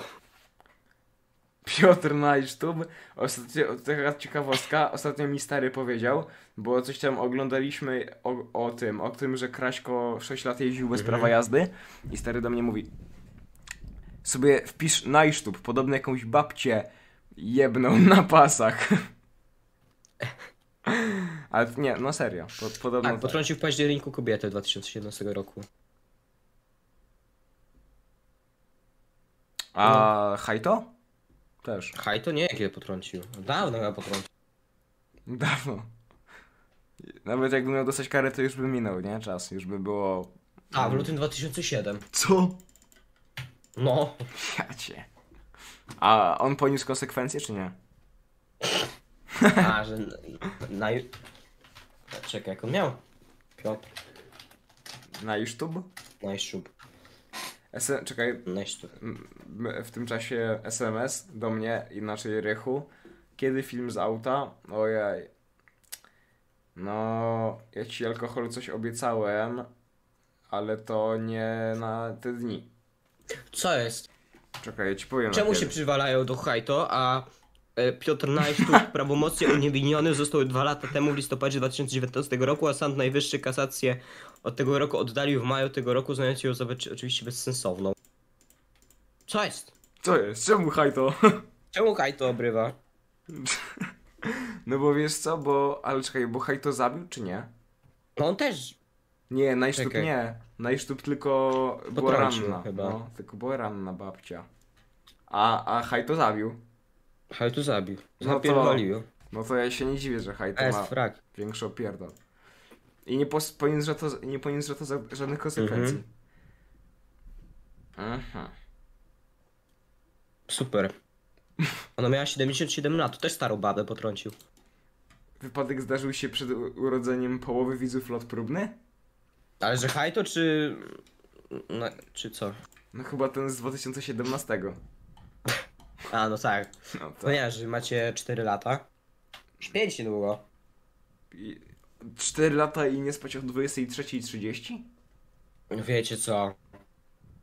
Speaker 2: Piotr Najsztub, ostatnio, taka ciekawostka, ostatnio mi stary powiedział, bo coś tam oglądaliśmy o, o tym, o tym, że Kraśko 6 lat jeździł bez prawa jazdy i stary do mnie mówi sobie wpisz Najsztub, podobno jakąś babcię jebną na pasach. (laughs) Ale nie, no serio, po, podobno
Speaker 3: Tak,
Speaker 2: tak.
Speaker 3: potrącił w październiku kobietę 2017 roku.
Speaker 2: A Hajto? Też.
Speaker 3: Haj, to nie, kiedy potrącił. Dawno go potrącił.
Speaker 2: Dawno. Nawet jakbym miał dostać karę, to już by minął, nie? Czas, już by było...
Speaker 3: A, Tak, w lutym 2007.
Speaker 2: Co?
Speaker 3: No. (laughs)
Speaker 2: Jacie. A on poniósł konsekwencje, czy nie?
Speaker 3: A, że na, na... Czekaj, jak on miał? Piotr.
Speaker 2: Na YouTube?
Speaker 3: Najszczub.
Speaker 2: S- czekaj,
Speaker 3: Najszczub.
Speaker 2: m- m- w tym czasie SMS do mnie, inaczej Rychu. Kiedy film z auta? Ojej. No, ja ci alkohol coś obiecałem, ale to nie na te dni.
Speaker 3: Co jest?
Speaker 2: Czekaj, ja ci powiem.
Speaker 3: Czemu
Speaker 2: na
Speaker 3: się
Speaker 2: kiedy.
Speaker 3: przywalają do Hajto, a e, Piotr (laughs) Najsztuk prawomocnie uniewinniony został dwa lata temu w listopadzie 2019 roku, a Sąd Najwyższy kasację od tego roku oddalił w maju tego roku, znając ją za wycz- oczywiście bezsensowną. Co jest?
Speaker 2: Co jest? Czemu haj to?
Speaker 3: Czemu Hajto obrywa?
Speaker 2: (laughs) No bo wiesz co, bo... Ale czekaj, bo haj to zabił, czy nie?
Speaker 3: No on też.
Speaker 2: Nie, najsztub
Speaker 3: Czekaj.
Speaker 2: nie. Najsztub tylko była
Speaker 3: Potrącił
Speaker 2: ranna.
Speaker 3: chyba.
Speaker 2: No, tylko była ranna babcia. A, a Haj to zabił.
Speaker 3: Hajto zabił.
Speaker 2: No to-
Speaker 3: Zapierdolił.
Speaker 2: No to ja się nie dziwię, że Haj
Speaker 3: To
Speaker 2: to
Speaker 3: jest
Speaker 2: ma
Speaker 3: frak.
Speaker 2: większy opierdol. I nie pos- poniósł za to, nie poniósł za to za żadnych konsekwencji.
Speaker 3: Mhm.
Speaker 2: Aha.
Speaker 3: Super. Ona miała 77 lat, to też starą babę potrącił.
Speaker 2: Wypadek zdarzył się przed u- urodzeniem połowy widzów lot próbny?
Speaker 3: Ale że Hajto czy... No, czy co?
Speaker 2: No chyba ten z 2017.
Speaker 3: A, no tak.
Speaker 2: No
Speaker 3: No
Speaker 2: to...
Speaker 3: nie, że macie 4 lata. Śpieć niedługo.
Speaker 2: I... 4 lata i nie spać o 23.30?
Speaker 3: Wiecie co?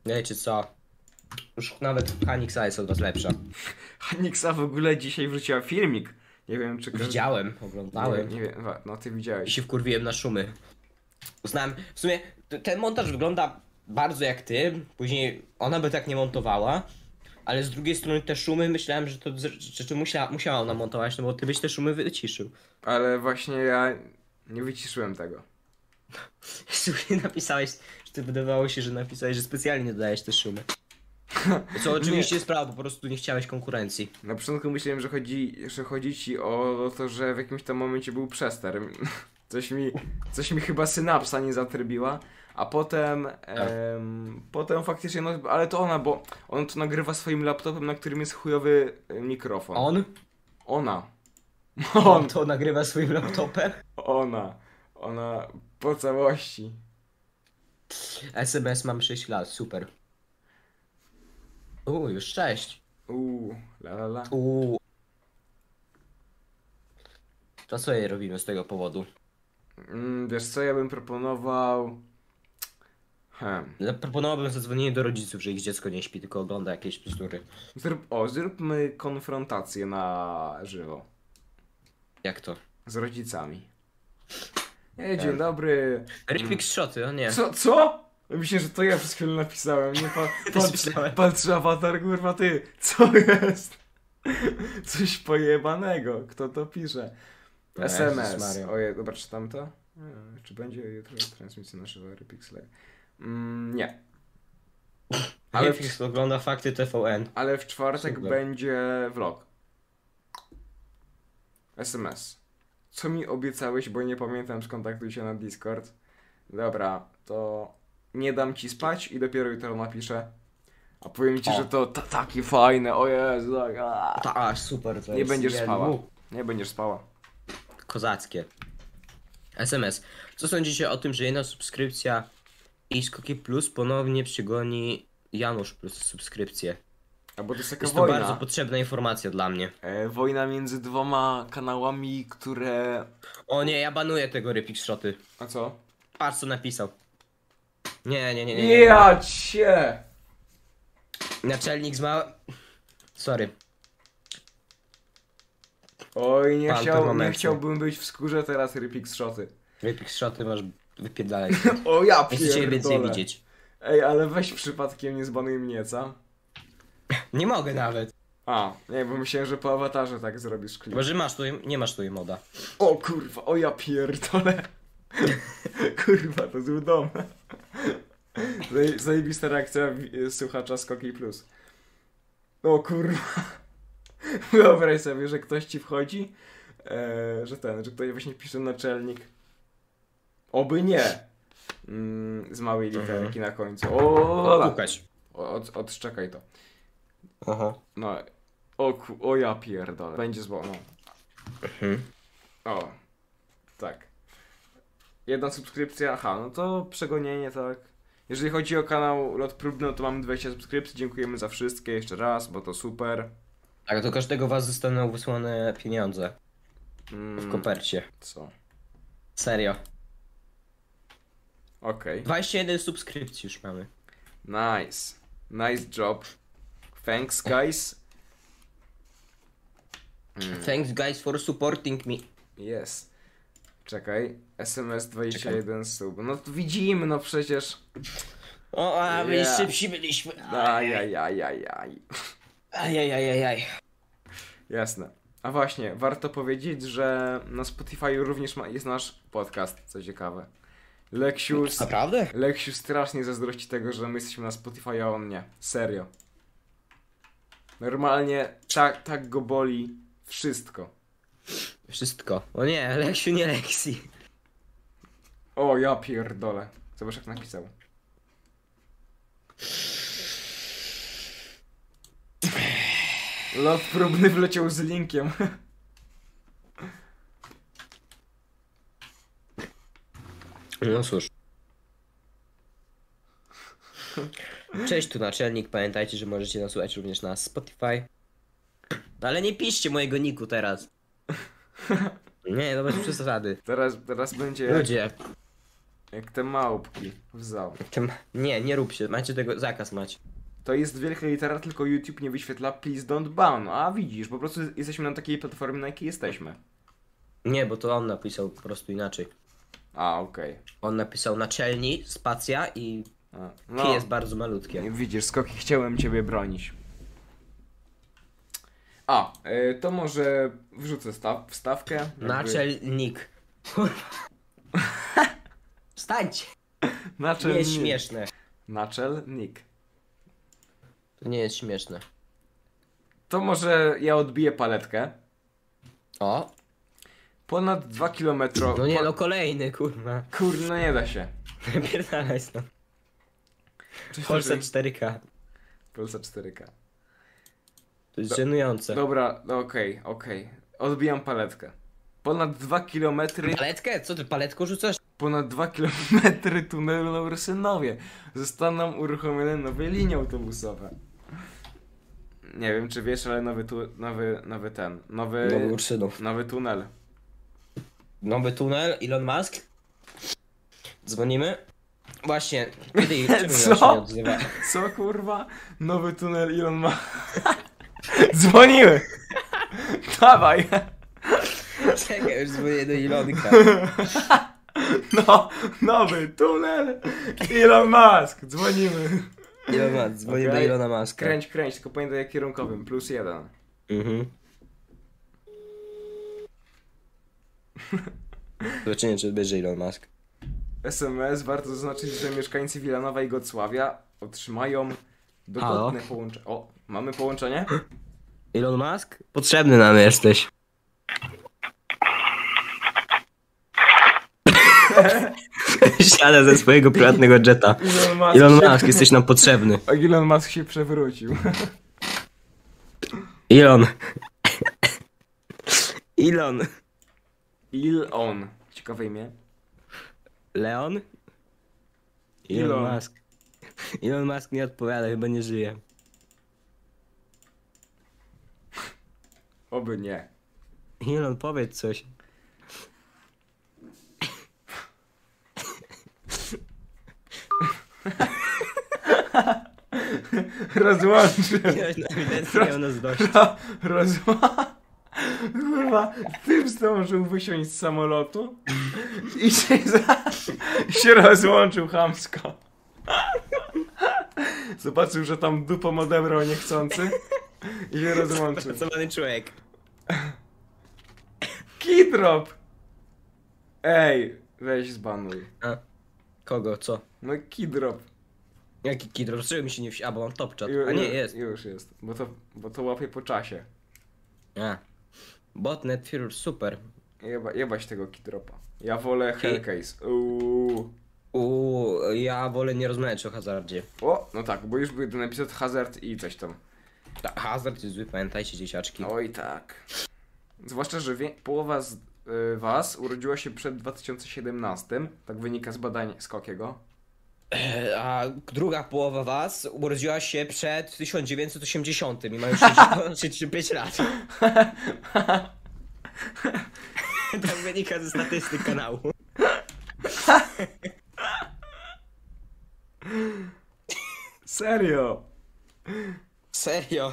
Speaker 3: Wiecie co? Już nawet Haniksa jest od was lepsza.
Speaker 2: Haniksa w ogóle dzisiaj wrzuciła filmik. Nie wiem, czy każdy...
Speaker 3: Widziałem, oglądałem
Speaker 2: Nie, nie wiem, wa- no ty
Speaker 3: i
Speaker 2: widziałeś.
Speaker 3: się wkurwiłem na szumy. Uznałem, w sumie t- ten montaż wygląda bardzo jak ty, później ona by tak nie montowała. Ale z drugiej strony te szumy myślałem, że to z- że, że musiała, musiała ona montować, no bo ty byś te szumy wyciszył.
Speaker 2: Ale właśnie ja nie wyciszyłem tego.
Speaker 3: Słuchaj, napisałeś, że ty wydawało się, że napisałeś, że specjalnie nie dodajesz te szumy. (laughs) Co oczywiście jest prawda, po prostu nie chciałeś konkurencji.
Speaker 2: Na początku myślałem, że chodzi, że chodzi ci o to, że w jakimś tam momencie był przester. (laughs) Coś mi, coś mi chyba synapsa nie zatrybiła, a potem,
Speaker 3: Tak.
Speaker 2: em, potem faktycznie, no, ale to ona, bo on to nagrywa swoim laptopem, na którym jest chujowy e, mikrofon.
Speaker 3: On?
Speaker 2: Ona. (laughs)
Speaker 3: On to nagrywa swoim laptopem?
Speaker 2: Ona. Ona po całości.
Speaker 3: SMS mam 6 lat, super. Uuu, już 6.
Speaker 2: Uuu, la la la.
Speaker 3: Uuu. To co jej robimy z tego powodu?
Speaker 2: Mm, wiesz co, ja bym proponował... Hmm.
Speaker 3: Zaproponowałbym No, zadzwonienie do rodziców, że ich dziecko nie śpi, tylko ogląda jakieś bzdury.
Speaker 2: Zrób, o, zróbmy konfrontację na żywo.
Speaker 3: Jak to?
Speaker 2: Z rodzicami. Ej, dzień dobry.
Speaker 3: Rypik z szoty, o nie.
Speaker 2: Co, co? Myślę, że to ja przez chwilę napisałem. Nie
Speaker 3: (laughs)
Speaker 2: pa, patrz,
Speaker 3: myślałem.
Speaker 2: patrz, awatar, kurwa, ty. Co jest? (laughs) Coś pojebanego. Kto to pisze?
Speaker 3: Jezus
Speaker 2: SMS.
Speaker 3: Maria.
Speaker 2: Oje, dobra, czytam to? Nie, Czy będzie jutro transmisja na żywo Pixel? Mm, nie.
Speaker 3: (laughs)
Speaker 2: Ale, w,
Speaker 3: Rypik ogląda fakty TVN.
Speaker 2: ale w czwartek
Speaker 3: Super.
Speaker 2: będzie vlog. SMS. Co mi obiecałeś, bo nie pamiętam, skontaktuj się na Discord. Dobra, to nie dam ci spać i dopiero jutro napiszę. A powiem ci,
Speaker 3: O.
Speaker 2: że to ta, takie fajne, o Jezu, tak, aaa.
Speaker 3: Ta, a, super, to
Speaker 2: Nie
Speaker 3: jest
Speaker 2: będziesz
Speaker 3: jeden
Speaker 2: spała.
Speaker 3: mu-
Speaker 2: Nie będziesz spała.
Speaker 3: Kozackie. SMS. Co sądzicie o tym, że jedna subskrypcja i Skoki Plus ponownie przygoni Janusz Plus subskrypcję?
Speaker 2: Albo to jest taka
Speaker 3: Jest to
Speaker 2: wojna.
Speaker 3: bardzo potrzebna informacja dla mnie.
Speaker 2: E, wojna między dwoma kanałami, które...
Speaker 3: O nie, ja banuję tego Rypik Szoty.
Speaker 2: A co?
Speaker 3: Patrz co napisał. Nie, nie, nie, nie. nie.
Speaker 2: Ja cię!
Speaker 3: Naczelnik z mała... Sorry.
Speaker 2: Oj, nie,
Speaker 3: Pan
Speaker 2: chciał, nie
Speaker 3: permanentny.
Speaker 2: chciałbym być w skórze teraz Rypix Shoty.
Speaker 3: Rypik Szoty masz wypierdalać.
Speaker 2: O (laughs) ja
Speaker 3: Nie chcę cię więcej
Speaker 2: pierdolę.
Speaker 3: widzieć.
Speaker 2: Ej, ale weź przypadkiem nie zbanuj mnie, co?
Speaker 3: Nie mogę nawet.
Speaker 2: A, nie, bo myślałem, że po awatarze tak zrobisz klip.
Speaker 3: Chyba, że masz tu, nie masz tu moda.
Speaker 2: O kurwa, o ja pierdolę. (laughs) kurwa, to był dom. Zaje- Zajebista reakcja w- słuchacza Skoki Plus. O kurwa. (laughs) Wyobraź sobie, że ktoś ci wchodzi, e, że ten, że ktoś właśnie pisze naczelnik. Oby nie. Mm, z małej literki
Speaker 3: Mhm.
Speaker 2: na końcu. O,
Speaker 3: Pukać.
Speaker 2: o od, odszczekaj to.
Speaker 3: Aha.
Speaker 2: No, o, ku, o ja pierdolę. Będzie zło, no.
Speaker 3: Mhm.
Speaker 2: O, tak. Jedna subskrypcja, aha, no to przegonienie, tak. Jeżeli chodzi o kanał Lot Próbny, no to mamy 20 subskrypcji, dziękujemy za wszystkie jeszcze raz, bo to super.
Speaker 3: Tak, do każdego was zostaną wysłane pieniądze w
Speaker 2: Mm,
Speaker 3: kopercie.
Speaker 2: co?
Speaker 3: Serio.
Speaker 2: Okej.
Speaker 3: 21 subskrypcji już mamy.
Speaker 2: Nice. Nice job. Thanks, guys.
Speaker 3: Thanks guys for supporting me.
Speaker 2: Yes. Czekaj, SMS 21 sub. No to widzimy, no przecież.
Speaker 3: O, a my
Speaker 2: Yeah.
Speaker 3: szybsi byliśmy.
Speaker 2: Ajajajajaj.
Speaker 3: Ajajajajaj.
Speaker 2: Jasne. A właśnie, warto powiedzieć, że na Spotify również ma, jest nasz podcast, co ciekawe.
Speaker 3: No,
Speaker 2: Leksiu, s-
Speaker 3: Naprawdę?
Speaker 2: Leksiu strasznie zazdrości tego, że my jesteśmy na Spotify, a on nie. Serio. Normalnie tak, tak go boli wszystko.
Speaker 3: Wszystko. O nie, Leksiu nie Leksi.
Speaker 2: O, ja pierdolę. Zobacz jak napisał. Lot próbny wleciał z linkiem. (laughs)
Speaker 3: No cóż. Cześć, tu naczelnik. Pamiętajcie, że możecie nas słuchać również na Spotify. No ale nie piszcie mojego niku teraz. (laughs) Nie, no bez przesady.
Speaker 2: Teraz, teraz będzie jak,
Speaker 3: Ludzie,
Speaker 2: jak te małpki w zoo.
Speaker 3: tym... nie, nie róbcie. Macie tego zakaz macie.
Speaker 2: To jest wielka litera, tylko YouTube nie wyświetla please don't ban. A widzisz, po prostu jesteśmy na takiej platformie, na jakiej jesteśmy.
Speaker 3: Nie, bo to on napisał po prostu inaczej.
Speaker 2: A, okej.
Speaker 3: On napisał naczelni, spacja i
Speaker 2: A,
Speaker 3: no.
Speaker 2: No,
Speaker 3: jest bardzo malutkie.
Speaker 2: widzisz, skoki chciałem ciebie bronić. A, e, to może wrzucę staw, wstawkę. jakby-
Speaker 3: Naczelnik. (laughs) Wstańcie! To nie
Speaker 2: Naczelnik.
Speaker 3: jest śmieszne.
Speaker 2: Naczelnik.
Speaker 3: To nie jest śmieszne.
Speaker 2: To może ja odbiję paletkę.
Speaker 3: O!
Speaker 2: Ponad 2 km.
Speaker 3: No nie no, kolejny kurwa. (laughs) no.
Speaker 2: Kurno, no nie da się.
Speaker 3: Pierdalaj stąd. Polsat 4K.
Speaker 2: Polsa 4K.
Speaker 3: To jest
Speaker 2: Do-
Speaker 3: żenujące.
Speaker 2: Dobra, no okej, okej. Odbijam paletkę. Ponad 2 km.
Speaker 3: Paletkę? Co ty, paletką rzucasz?
Speaker 2: Ponad 2 km tunelu Rysynowie. Zostaną uruchomione nowe linie autobusowe. Nie wiem, czy wiesz, ale nowy, tu, nowy, nowy ten. Nowy,
Speaker 3: No,
Speaker 2: nowy,
Speaker 3: uczynów.
Speaker 2: tunel.
Speaker 3: Nowy tunel, Elon Musk. Dzwonimy. Właśnie, kiedy
Speaker 2: (laughs)
Speaker 3: czemu ja się
Speaker 2: Co?
Speaker 3: nie
Speaker 2: (laughs)
Speaker 3: odzywa?
Speaker 2: Co kurwa? Nowy tunel Elon ma. Dzwoniły! (laughs) Dawaj!
Speaker 3: Czekaj, już dzwonię do Elonka.
Speaker 2: No, nowy tunel Elon Musk! Dzwonimy!
Speaker 3: Elon Musk, dzwonię
Speaker 2: Okej.
Speaker 3: do Elona Muska.
Speaker 2: Kręć, kręć, tylko pamiętaj jak kierunkowym, plus jeden.
Speaker 3: Mhm. (laughs) Zobaczymy, czy odbierze Elon Musk.
Speaker 2: SMS warto zaznaczyć, że mieszkańcy Wilanowa i Gocławia otrzymają
Speaker 3: Halo?
Speaker 2: dokładne połączenie. O, mamy połączenie?
Speaker 3: Elon Musk? Potrzebny nam jesteś. (laughs) Siada ze swojego prywatnego jeta.
Speaker 2: Elon Musk,
Speaker 3: Elon Musk, jesteś nam potrzebny.
Speaker 2: Się... Elon Musk się przewrócił.
Speaker 3: Elon. Elon.
Speaker 2: Ilon. Ciekawe imię.
Speaker 3: Leon? Elon,
Speaker 2: Elon.
Speaker 3: Musk. Elon Musk nie odpowiada, chyba nie żyje.
Speaker 2: Oby nie.
Speaker 3: Elon, powiedz coś.
Speaker 2: Rozłączył. (laughs)
Speaker 3: Ewidentnie miał nas dość.
Speaker 2: Ro- Rozła... Kurwa, ty zdążył wysiąść z samolotu i się, za... i się rozłączył chamsko. Zobaczył, że tam dupą odebrał niechcący i się (laughs) rozłączył.
Speaker 3: Pracowany człowiek.
Speaker 2: Kidrop! Ej, weź zbanuj.
Speaker 3: A, kogo, co?
Speaker 2: No kidrop.
Speaker 3: Jaki kidro? Dlaczego mi się nie wsi... A, bo mam top chat.
Speaker 2: Ju-
Speaker 3: A nie,
Speaker 2: ju-
Speaker 3: jest.
Speaker 2: Już jest, bo to, bo to łapie po czasie.
Speaker 3: A. Botnet Firur, super.
Speaker 2: Jeba, jebać tego kidropa. Ja wolę Hellcase. Uuu.
Speaker 3: Uuu, ja wolę nie rozmawiać o hazardzie.
Speaker 2: O, no tak, bo już był ten epizod Hazard i coś tam.
Speaker 3: Ta, hazard jest zły, pamiętajcie dzieciaczki.
Speaker 2: Oj tak. Zwłaszcza, że wie, połowa z y, was urodziła się przed 2017, tak wynika z badań Skokiego.
Speaker 3: E, A druga połowa was urodziła się przed 1980 i ma już (laughs) 65
Speaker 2: (laughs)
Speaker 3: lat. tak wynika ze statystyk kanału.
Speaker 2: Serio?
Speaker 3: Serio.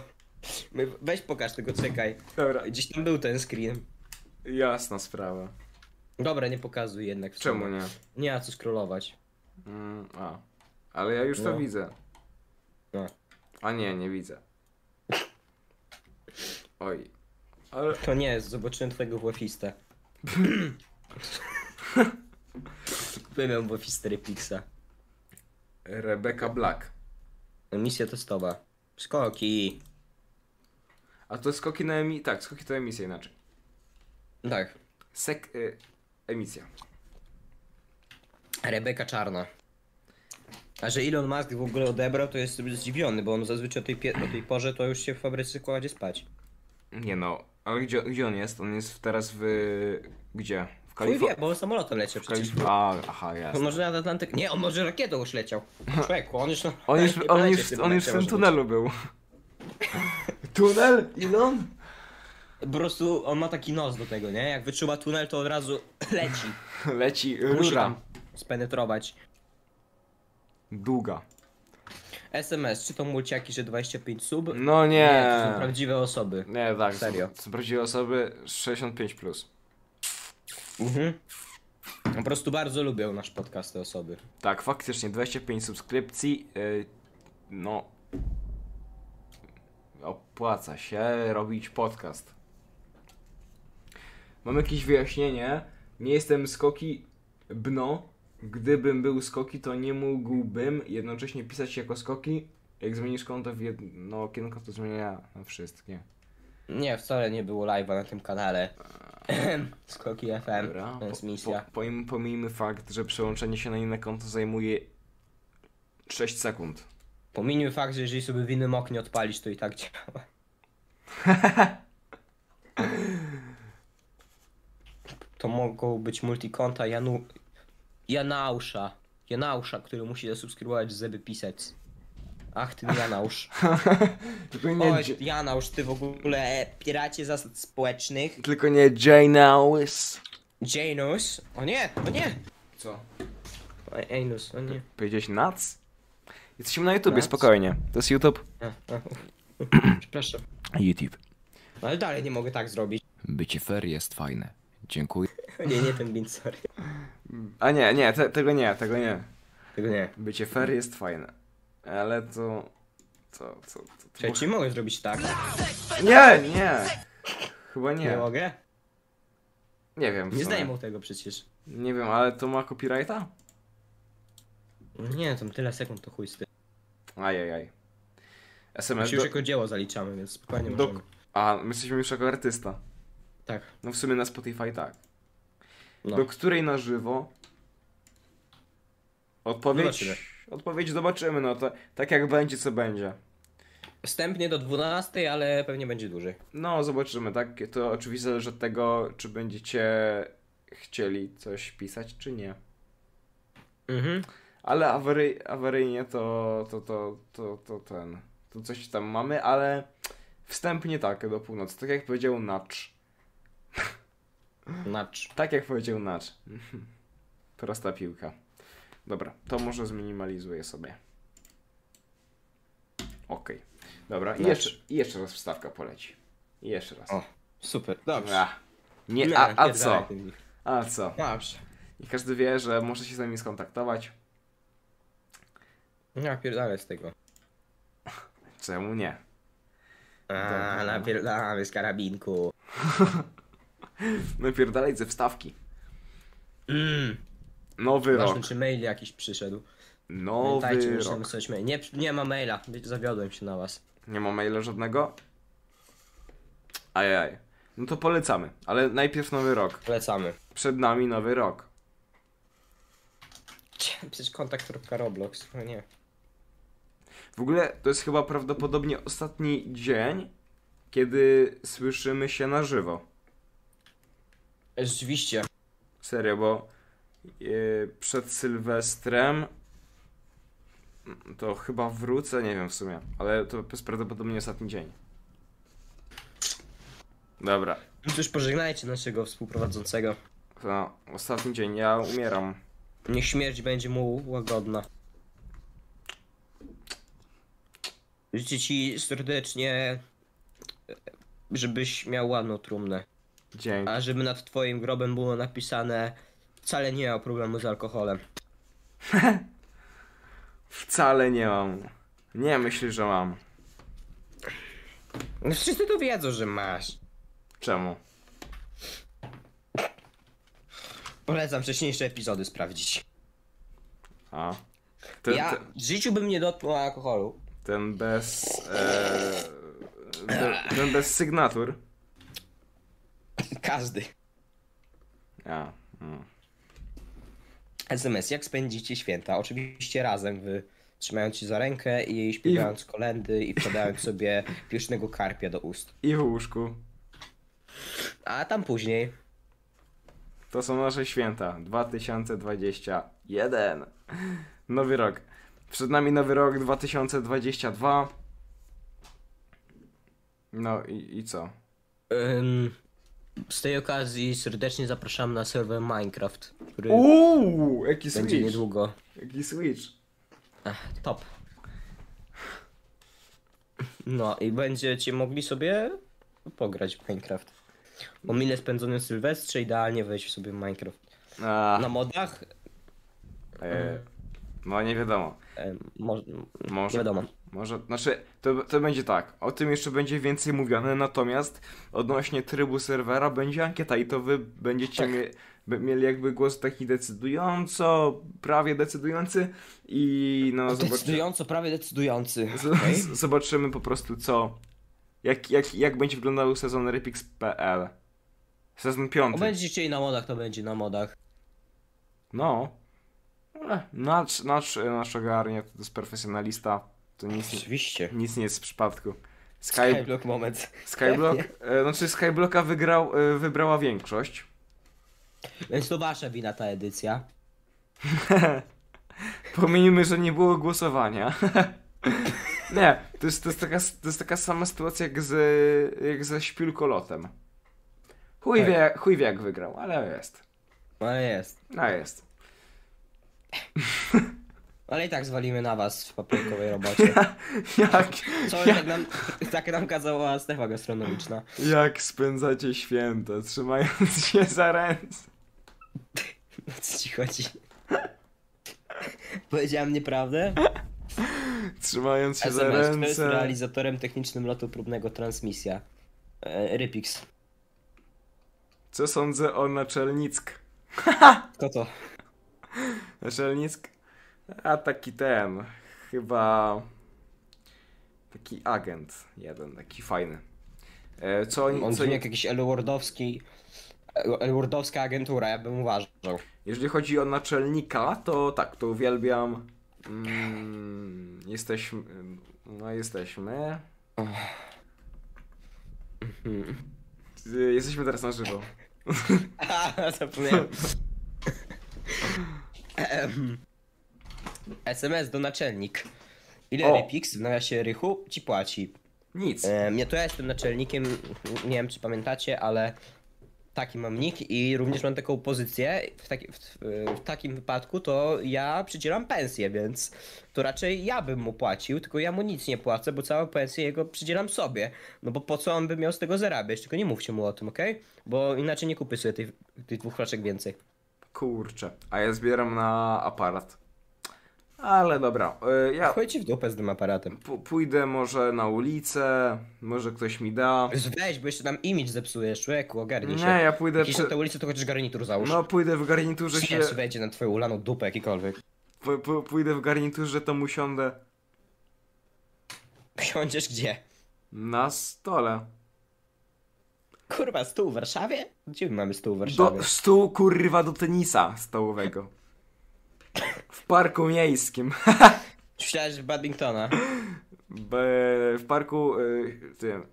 Speaker 3: My- Weź pokaż tego, czekaj.
Speaker 2: Dobra,
Speaker 3: Gdzieś tam był ten screen.
Speaker 2: jasna sprawa.
Speaker 3: Dobra, nie pokazuj jednak. w sumie.
Speaker 2: Czemu nie?
Speaker 3: Nie ma co scrollować.
Speaker 2: Mm, a. Ale ja już to
Speaker 3: No.
Speaker 2: widzę.
Speaker 3: No.
Speaker 2: A nie, nie widzę. Oj. Ale...
Speaker 3: To nie jest, zobaczyłem twojego
Speaker 2: (laughs)
Speaker 3: włofistę. Byłem włofistę Repixa.
Speaker 2: Rebecca Black.
Speaker 3: No, Misja testowa. Skoki.
Speaker 2: A to skoki na emi... Tak, skoki to emisja inaczej.
Speaker 3: Tak.
Speaker 2: Sek... Y, emisja.
Speaker 3: Rebeka Czarna. A że Elon Musk w ogóle odebrał, to jest zdziwiony, bo on zazwyczaj o tej, pie- o tej porze to już się w fabryce kładzie spać.
Speaker 2: Nie no, ale gdzie, gdzie on jest? On jest teraz w... Gdzie? W
Speaker 3: Chuj
Speaker 2: Kalifornii?
Speaker 3: wie, bo on samolotem leciał przecież.
Speaker 2: Kalif- A, aha,
Speaker 3: On
Speaker 2: jasne.
Speaker 3: może nad Atlantyk... Nie, on może rakietą już leciał. Człowieku, on już... na-
Speaker 2: On
Speaker 3: (laughs)
Speaker 2: już,
Speaker 3: nie
Speaker 2: on
Speaker 3: poleci
Speaker 2: już,
Speaker 3: w tym
Speaker 2: on już w
Speaker 3: momencie,
Speaker 2: tym
Speaker 3: może
Speaker 2: tunelu był. Tunel? Elon?
Speaker 3: być. Po prostu on ma taki nos do tego, nie? Jak wyczuwa tunel, to od razu (clears throat) leci.
Speaker 2: (laughs) Leci
Speaker 3: Musi
Speaker 2: rura.
Speaker 3: tam spenetrować.
Speaker 2: Długa.
Speaker 3: SMS, czy to mulciaki, że 25 sub?
Speaker 2: No
Speaker 3: to są
Speaker 2: nie.
Speaker 3: prawdziwe osoby.
Speaker 2: Nie, tak. są-
Speaker 3: Serio.
Speaker 2: Są prawdziwe osoby 65+. Plus.
Speaker 3: Mhm. Po prostu bardzo lubią nasz podcast te osoby.
Speaker 2: Tak, e, faktycznie 25 subskrypcji. Yy, no. opłaca się robić podcast. Mam jakieś wyjaśnienie. Nie jestem skoki bno. Gdybym był skoki, to nie mógłbym jednocześnie pisać jako skoki. Jak zmienisz konto w jedno okienko, to zmienia na wszystkie.
Speaker 3: Nie, wcale nie było live'a na tym kanale. (clears throat) Skoki FM,
Speaker 2: Dobra.
Speaker 3: transmisja.
Speaker 2: Po, po, pom- pomijmy fakt, że przełączenie się na inne konto zajmuje 6 sekund.
Speaker 3: Pominił fakt, że jeżeli sobie w innym oknie odpalisz, to i tak działa. to mogą być multikonta Janu... Janausza. Janausza, który musi zasubskrybować, żeby pisać. Ach, ty Janausz.
Speaker 2: (laughs) Tylko
Speaker 3: Oj,
Speaker 2: nie, J-
Speaker 3: Janausz, ty w ogóle e, piracie zasad społecznych.
Speaker 2: tylko nie Janus.
Speaker 3: Janus. O nie, o nie.
Speaker 2: Co?
Speaker 3: O, Anus, o nie.
Speaker 2: Powiedziałeś nuts? Jesteśmy na YouTubie,
Speaker 3: Nuts?
Speaker 2: spokojnie. To jest YouTube.
Speaker 3: A, a. (laughs) Przepraszam.
Speaker 2: YouTube.
Speaker 3: Ale dalej nie mogę tak zrobić. (laughs)
Speaker 2: Bycie fair jest fajne. Dziękuję.
Speaker 3: Nie, nie ten bin, sorry.
Speaker 2: A nie, nie, te, tego nie, tego nie.
Speaker 3: Tego nie.
Speaker 2: Bycie fair jest fajne. Ale to... To, to, to, to
Speaker 3: Czy mogę zrobić tak?
Speaker 2: Nie, nie! Chyba
Speaker 3: Nie
Speaker 2: nie.
Speaker 3: mogę?
Speaker 2: Nie wiem. w
Speaker 3: Nie
Speaker 2: sumie.
Speaker 3: zdejmą tego przecież.
Speaker 2: Nie wiem, ale to ma copyrighta?
Speaker 3: Nie, tam tyle sekund to chuj z tym.
Speaker 2: Ajajaj.
Speaker 3: My
Speaker 2: SMS
Speaker 3: się
Speaker 2: do...
Speaker 3: już jako dzieło zaliczamy, więc spokojnie
Speaker 2: do-
Speaker 3: możemy.
Speaker 2: A, my jesteśmy już jako artysta.
Speaker 3: Tak,
Speaker 2: No w sumie na Spotify tak.
Speaker 3: no.
Speaker 2: Do której na żywo? Odpowiedź.
Speaker 3: Zobaczymy.
Speaker 2: Odpowiedź zobaczymy, no to tak jak będzie, co będzie.
Speaker 3: Wstępnie do 12, ale pewnie będzie dłużej.
Speaker 2: No, zobaczymy, tak? To oczywiście zależy od tego, czy będziecie chcieli coś pisać, czy nie.
Speaker 3: Mhm.
Speaker 2: Ale awary, awaryjnie to, to, to, to, to ten. To coś tam mamy, ale wstępnie tak, do północy. Tak jak powiedział Nacz.
Speaker 3: Nacz.
Speaker 2: Tak jak powiedział Nacz. (laughs) Prosta piłka. Dobra, to może zminimalizuję sobie. Okej. Dobra, i
Speaker 3: Nacz.
Speaker 2: jeszcze, i jeszcze raz wstawka poleci. I jeszcze raz.
Speaker 3: O, Super, dobrze.
Speaker 2: Ach, nie, a, a co?
Speaker 3: pierdalaj tym.
Speaker 2: A co?
Speaker 3: Dobrze.
Speaker 2: I każdy wie, że może się z nami skontaktować.
Speaker 3: Napierdalaj z tego.
Speaker 2: Czemu nie?
Speaker 3: A, napierdalamy z karabinku.
Speaker 2: Napierdalaj No ze wstawki.
Speaker 3: Mm.
Speaker 2: Nowy
Speaker 3: Ważne,
Speaker 2: rok.
Speaker 3: czy mail jakiś przyszedł. Pamiętajcie,
Speaker 2: Nowy
Speaker 3: muszę
Speaker 2: rok.
Speaker 3: wysłać mail. Nie, nie ma maila, zawiodłem się na was.
Speaker 2: Nie ma maila żadnego? Ajaj. No to polecamy, ale najpierw nowy rok.
Speaker 3: Polecamy.
Speaker 2: Przed nami nowy rok.
Speaker 3: Cie, Przecież kontakt.roblox, o no nie.
Speaker 2: W ogóle to jest chyba prawdopodobnie ostatni dzień, kiedy słyszymy się na żywo.
Speaker 3: Rzeczywiście.
Speaker 2: Serio, bo yy, przed Sylwestrem to chyba wrócę, nie wiem w sumie, ale to jest prawdopodobnie ostatni dzień. Dobra,
Speaker 3: No Cóż, pożegnajcie naszego współprowadzącego.
Speaker 2: to ostatni dzień, ja umieram.
Speaker 3: Niech śmierć będzie mu łagodna. Życzę ci serdecznie, żebyś miał ładną trumnę.
Speaker 2: Dzień.
Speaker 3: A żeby nad twoim grobem było napisane wcale nie miał problemu z alkoholem.
Speaker 2: Wcale nie mam. Nie myślę, że mam.
Speaker 3: No wszyscy to wiedzą, że masz.
Speaker 2: Czemu?
Speaker 3: Polecam wcześniejsze epizody sprawdzić.
Speaker 2: A. Ten,
Speaker 3: ja
Speaker 2: ten,
Speaker 3: w życiu bym nie dotknął alkoholu.
Speaker 2: ten bez. E, te- ten bez sygnatur.
Speaker 3: Każdy.
Speaker 2: A. mm.
Speaker 3: SMS, jak spędzicie święta? Oczywiście razem, wy trzymając się za rękę i śpiewając kolendy i (laughs) podając sobie piesznego karpia do ust.
Speaker 2: I w łóżku.
Speaker 3: A tam później.
Speaker 2: To są nasze święta 2021. Nowy rok. Przed nami nowy rok 2022. No i, i co?
Speaker 3: Ym, z tej okazji serdecznie zapraszam na serwer Minecraft, który
Speaker 2: Uuu, jaki
Speaker 3: będzie
Speaker 2: switch!
Speaker 3: niedługo.
Speaker 2: Jaki switch!
Speaker 3: Ach, top. No i będziecie mogli sobie pograć w Minecraft. O mile spędzonym No. Sylwestrze idealnie wejść sobie w Minecraft.
Speaker 2: A,
Speaker 3: Na modach
Speaker 2: e, No nie wiadomo.
Speaker 3: E, mo- nie
Speaker 2: Może.
Speaker 3: wiadomo.
Speaker 2: Może, znaczy, to, to będzie tak. O tym jeszcze będzie więcej mówione, natomiast odnośnie trybu serwera będzie ankieta i to wy będziecie
Speaker 3: Tak.
Speaker 2: mie- b- mieli jakby głos taki decydująco, prawie decydujący i no zobaczymy.
Speaker 3: Decydująco, prawie decydujący.
Speaker 2: Z- z- Zobaczymy po prostu co, jak, jak, jak będzie wyglądał sezon Repix.pl. Sezon
Speaker 3: O,
Speaker 2: piąty.
Speaker 3: będzie chcieli na modach, to będzie na modach.
Speaker 2: No. E, Ale Nasz, nasz, nasz ogarnia, to jest profesjonalista, to nic,
Speaker 3: Oczywiście.
Speaker 2: nic nie jest w przypadku. Skype,
Speaker 3: Skyblock moment.
Speaker 2: Skyblock, e, znaczy Skyblocka wygrał, e, wybrała większość.
Speaker 3: Więc to wasza wina ta edycja.
Speaker 2: Pomijmy, że nie było głosowania. (laughs) nie, to jest, to, jest taka, to jest taka sama sytuacja jak, z, jak ze śpiulkolotem. Chuj,
Speaker 3: Tak.
Speaker 2: wie, chuj wie jak wygrał, ale jest.
Speaker 3: No jest.
Speaker 2: No jest.
Speaker 3: Ale i tak zwalimy na was w papierkowej robocie.
Speaker 2: (laughs) Jak,
Speaker 3: Co tak nam, tak nam kazała Stefa gastronomiczna. (laughs)
Speaker 2: jak spędzacie święta, trzymając się za ręce.
Speaker 3: O co ci chodzi? (laughs) Powiedziałem nieprawdę?
Speaker 2: Trzymając się za
Speaker 3: SMS, kto jest
Speaker 2: ręce.
Speaker 3: realizatorem technicznym lotu próbnego transmisja? E, Rypix.
Speaker 2: Co sądzę o naczelnick?
Speaker 3: Kto to?
Speaker 2: Naczelnick? A taki ten, chyba taki agent jeden, taki fajny. E, Co
Speaker 3: On
Speaker 2: oni, co,
Speaker 3: brzmi jak jakiś elwordowski... Elwordowska agentura, ja bym uważał.
Speaker 2: jeżeli chodzi o naczelnika, to tak, to uwielbiam. Mm, jesteśmy, no jesteśmy. Y, Jesteśmy teraz na żywo.
Speaker 3: (laughs) A, zapomniałem. Em. SMS do naczelnik. Ile
Speaker 2: O.
Speaker 3: Rypix w nawiasie Rychu ci płaci?
Speaker 2: Nic.
Speaker 3: Em, Ja E, to ja jestem naczelnikiem, nie wiem czy pamiętacie, ale taki mam nick i również mam taką pozycję. W, taki, w, w takim wypadku to ja przydzielam pensję, więc to raczej ja bym mu płacił, tylko ja mu nic nie płacę, bo całą pensję jego przydzielam sobie. No bo po co on by miał z tego zarabiać? Tylko nie mówcie mu o tym, okej? Bo inaczej nie kupię sobie tych, tych dwóch flaszek więcej.
Speaker 2: Kurczę. A ja zbieram na aparat. Ale dobra, y, ja
Speaker 3: Chodźcie w dupę z tym aparatem.
Speaker 2: p- pójdę może na ulicę, może ktoś mi da.
Speaker 3: Weź, bo jeszcze tam imidż zepsujesz, człowieku, ogarnij się.
Speaker 2: Nie, ja pójdę
Speaker 3: Jeśli
Speaker 2: przy...
Speaker 3: na tę ulicę, to chociaż garnitur załóż.
Speaker 2: No pójdę w garniturze
Speaker 3: że
Speaker 2: się...
Speaker 3: się... wejdzie na twoją ulaną dupę jakikolwiek. (laughs)
Speaker 2: P- p- pójdę w garniturze, to usiądę
Speaker 3: Siądziesz gdzie?
Speaker 2: na stole.
Speaker 3: Kurwa, stół w Warszawie? Gdzie my mamy stół w Warszawie?
Speaker 2: Do stół kurwa do tenisa stołowego. W parku miejskim. (laughs)
Speaker 3: Myślałeś w badmintona.
Speaker 2: B- w parku y, tym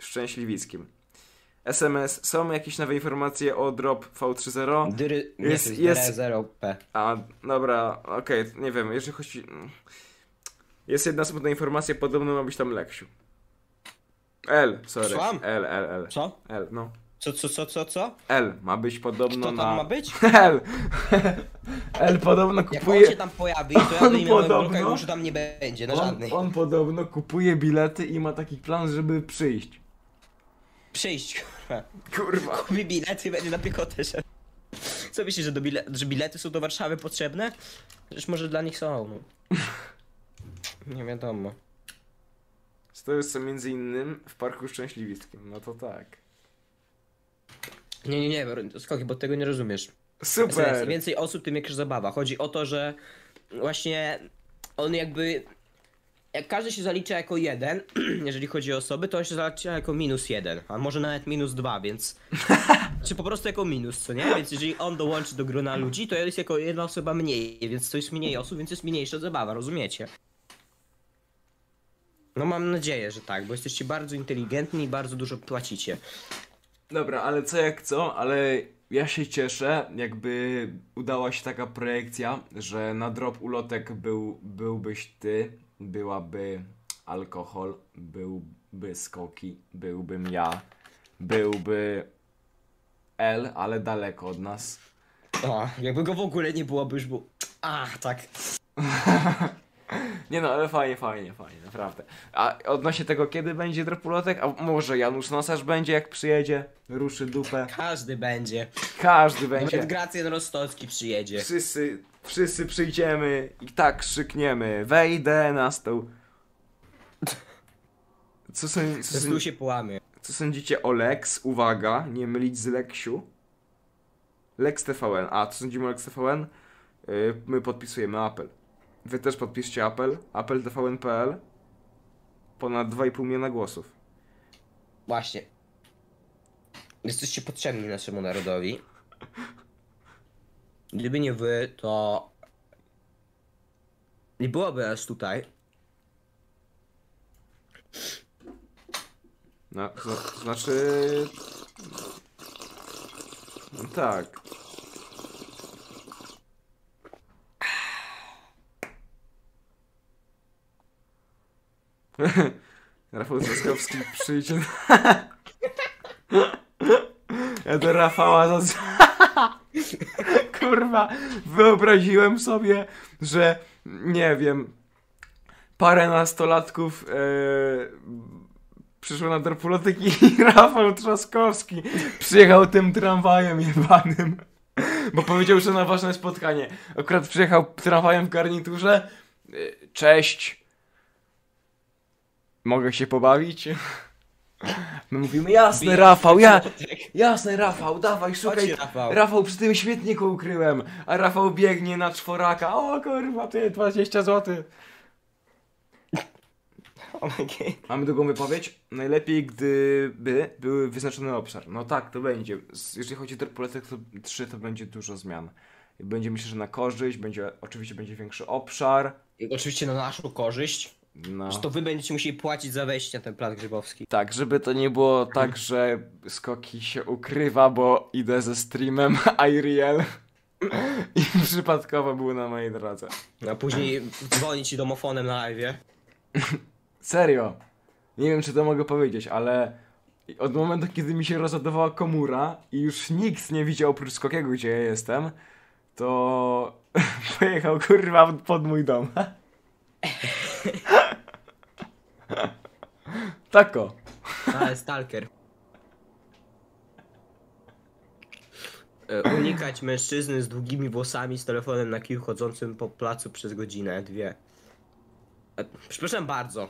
Speaker 2: szczęśliwickim. SMS. Są jakieś nowe informacje o drop V30?
Speaker 3: Dyry... Nie,
Speaker 2: Jest-
Speaker 3: jest,
Speaker 2: jest-
Speaker 3: jest... 0P.
Speaker 2: A, dobra, okej, nie wiem, jeżeli chodzi... Jest jedna smutna informacja, podobno ma być tam Leksiu. L, sorry.
Speaker 3: Słucham?
Speaker 2: L, L, L.
Speaker 3: Co?
Speaker 2: L, no.
Speaker 3: Co, co, co, co, co?
Speaker 2: L ma być
Speaker 3: Kto
Speaker 2: podobno
Speaker 3: tam
Speaker 2: na...
Speaker 3: ma być?
Speaker 2: (laughs) L! L podobno
Speaker 3: Jak on się
Speaker 2: kupuje...
Speaker 3: tam pojawi, to ja
Speaker 2: (laughs) On
Speaker 3: będę miał
Speaker 2: podobno-
Speaker 3: Bruka i już tam nie będzie, na
Speaker 2: On,
Speaker 3: żadnej.
Speaker 2: on podobno kupuje bilety i ma taki plan, żeby przyjść.
Speaker 3: Przyjść, kurwa.
Speaker 2: Kurwa.
Speaker 3: Kupi bilety i będzie na piechotę się. Co myślisz, że, do bile... że bilety są do Warszawy potrzebne? Przecież może dla nich są,
Speaker 2: (laughs)
Speaker 3: no. Nie wiadomo.
Speaker 2: To jest co między innym w Parku Szczęśliwickim, no to tak.
Speaker 3: Nie, nie, nie, Werun- skoki, bo tego nie rozumiesz. Słuchaj, Im
Speaker 2: Super!
Speaker 3: więcej osób, tym większa zabawa. Chodzi o to, że właśnie on jakby. Jak każdy się zalicza jako jeden, (clears throat) jeżeli chodzi o osoby, to on się zalicza jako minus jeden, a może nawet minus dwa, więc. Czy po prostu jako minus, co nie? Więc jeżeli on dołączy do grona ludzi, to jest jako jedna osoba mniej, więc to jest mniej osób, więc jest mniejsza zabawa, rozumiecie? No mam nadzieję, że tak, bo jesteście bardzo inteligentni i bardzo dużo płacicie.
Speaker 2: Dobra, ale co jak co, ale ja się cieszę, jakby udała się taka projekcja, że na drop ulotek był, byłbyś ty, byłaby alkohol, byłby skoki, byłbym ja, byłby L, ale daleko od nas.
Speaker 3: O, jakby go w ogóle nie było, by już był. A, tak.
Speaker 2: Nie no, ale fajnie, fajnie, fajnie, naprawdę. A odnośnie tego, kiedy będzie dropulotek, a może Janusz Nosarz będzie, jak przyjedzie, ruszy dupę.
Speaker 3: Każdy będzie.
Speaker 2: Każdy
Speaker 3: Nawet
Speaker 2: będzie.
Speaker 3: Gracjan Rostowski przyjedzie.
Speaker 2: Wszyscy, wszyscy przyjdziemy i tak krzykniemy. Wejdę na stół. Co, sąd, co,
Speaker 3: Zresztą
Speaker 2: sąd,
Speaker 3: się połamie.
Speaker 2: co sądzicie o Lex? Uwaga, nie mylić z Leksiu. Lex TVN. A, co sądzimy o Lex TVN? Yy, my podpisujemy apel. Wy też podpiszcie apel. Apel TVN.pl. Ponad 2,5 miliona głosów.
Speaker 3: Właśnie. Jesteście potrzebni naszemu narodowi. Gdyby nie wy, to... Nie byłoby nas tutaj.
Speaker 2: No, to znaczy... No tak. (laughs) Rafał Trzaskowski przyjdzie... Ja do Rafała zaz... Kurwa, wyobraziłem sobie, że nie wiem, parę nastolatków yy, przyszło na dorpulotek i (laughs) Rafał Trzaskowski przyjechał tym tramwajem jebanym. Bo powiedział, że na ważne spotkanie. Akurat przyjechał tramwajem w garniturze. Y, Cześć. Mogę się pobawić? My mówimy, jasne Rafał, ja, jasne Rafał, dawaj, szukaj.
Speaker 3: Chodź, Rafał.
Speaker 2: Rafał, przy tym śmietniku ukryłem. A Rafał biegnie na czworaka. O kurwa, ty, 20 zł.
Speaker 3: Okay.
Speaker 2: Mamy długą wypowiedź. Najlepiej, gdyby były wyznaczony obszar. No tak, to będzie. Z- Jeżeli chodzi o Terpoletek, to 3 to będzie dużo zmian. Będzie myślę, że na korzyść, będzie, oczywiście będzie większy obszar.
Speaker 3: Oczywiście na naszą korzyść.
Speaker 2: No.
Speaker 3: Że to wy będziecie musieli płacić za wejście na ten plan grzybowski.
Speaker 2: Tak, żeby to nie było tak, że skoki się ukrywa, bo idę ze streamem (laughs) IRL i przypadkowo był na mojej drodze.
Speaker 3: A (clears throat) później dzwonić ci domofonem na live.
Speaker 2: Serio. Nie wiem, czy to mogę powiedzieć, ale od momentu, kiedy mi się rozładowała komura i już nikt nie widział oprócz Skokiego, gdzie ja jestem, to (laughs) pojechał kurwa pod mój dom. Tako.
Speaker 3: Ale stalker. E, Unikać mężczyzny z długimi włosami z telefonem na kiju chodzącym po placu przez godzinę, dwie. E, Przepraszam bardzo.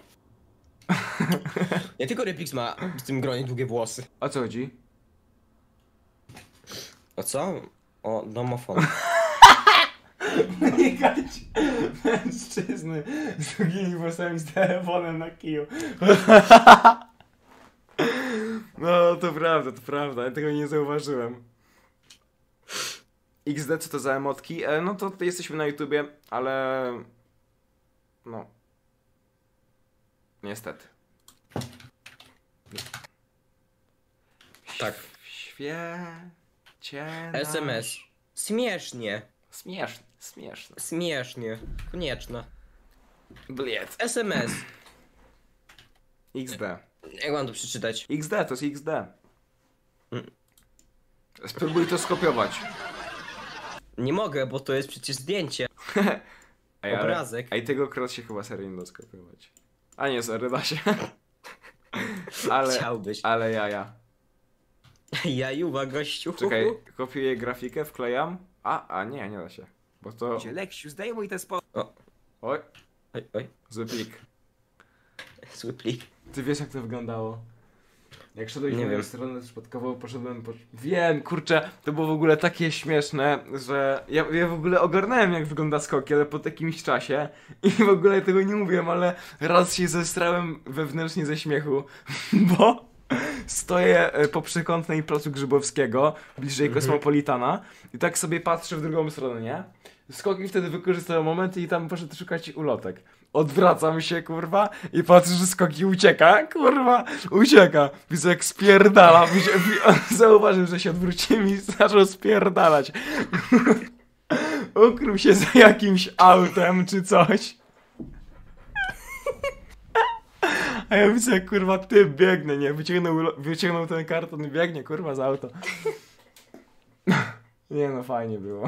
Speaker 3: Nie tylko Repix ma w tym gronie długie włosy.
Speaker 2: O co chodzi?
Speaker 3: O co? O domofon.
Speaker 2: (laughs) Unikać mężczyzny z długimi włosami z telefonem na kiju. (laughs) No, to prawda, to prawda, ja tego nie zauważyłem. XD, co to za emotki? E, no to jesteśmy na YouTubie, ale... No. Niestety.
Speaker 3: Tak.
Speaker 2: W świecie...
Speaker 3: SMS. Śmiesznie.
Speaker 2: Śmieszne, śmieszne.
Speaker 3: Śmiesznie. Konieczne.
Speaker 2: Bliet.
Speaker 3: SMS.
Speaker 2: XD.
Speaker 3: Jak mam to przeczytać?
Speaker 2: XD, to jest XD. Spróbuj to skopiować.
Speaker 3: Nie mogę, bo to jest przecież zdjęcie.
Speaker 2: Ej, ale-
Speaker 3: Obrazek.
Speaker 2: Ej, tego kros się chyba serio nie da skopiować. A nie, serio da się. (laughs) ale,
Speaker 3: Chciałbyś. (laughs)
Speaker 2: ale ja, ja.
Speaker 3: Jajuba, gościu.
Speaker 2: Czekaj, kopiuję grafikę, wklejam. A, a nie, nie da się. Bo to...
Speaker 3: Leksiu, zdejmuj ten spot. O,
Speaker 2: Oj,
Speaker 3: oj, oj,
Speaker 2: zły plik.
Speaker 3: zły plik.
Speaker 2: Ty wiesz jak to wyglądało. Jak szedłeś
Speaker 3: Nie
Speaker 2: na moją
Speaker 3: wiem.
Speaker 2: stronę przypadkowo, poszedłem po... Wiem, kurczę, to było w ogóle takie śmieszne, że ja, ja w ogóle ogarnąłem jak wygląda skoki, ale po jakimś czasie i w ogóle tego nie mówiłem, ale raz się zestrałem wewnętrznie ze śmiechu, (laughs) bo stoję e, po przekątnej placu Grzybowskiego, bliżej Kosmopolitana i tak sobie patrzę w drugą stronę, nie? Skoki wtedy wykorzystają moment i tam poszedł szukać ulotek. Odwracam się, kurwa, i patrzę, że skoki ucieka, kurwa, ucieka. Widzę, jak spierdala. Widzę, wi- (laughs) zauważył, że się odwróciłem i zaczął spierdalać. (laughs) Ukrył się za jakimś autem czy coś. A ja widzę, jak kurwa, ty biegnie, nie? Wyciągnął, ulo- wyciągnął ten karton i biegnie, kurwa, za auto. (laughs) Nie no, fajnie było.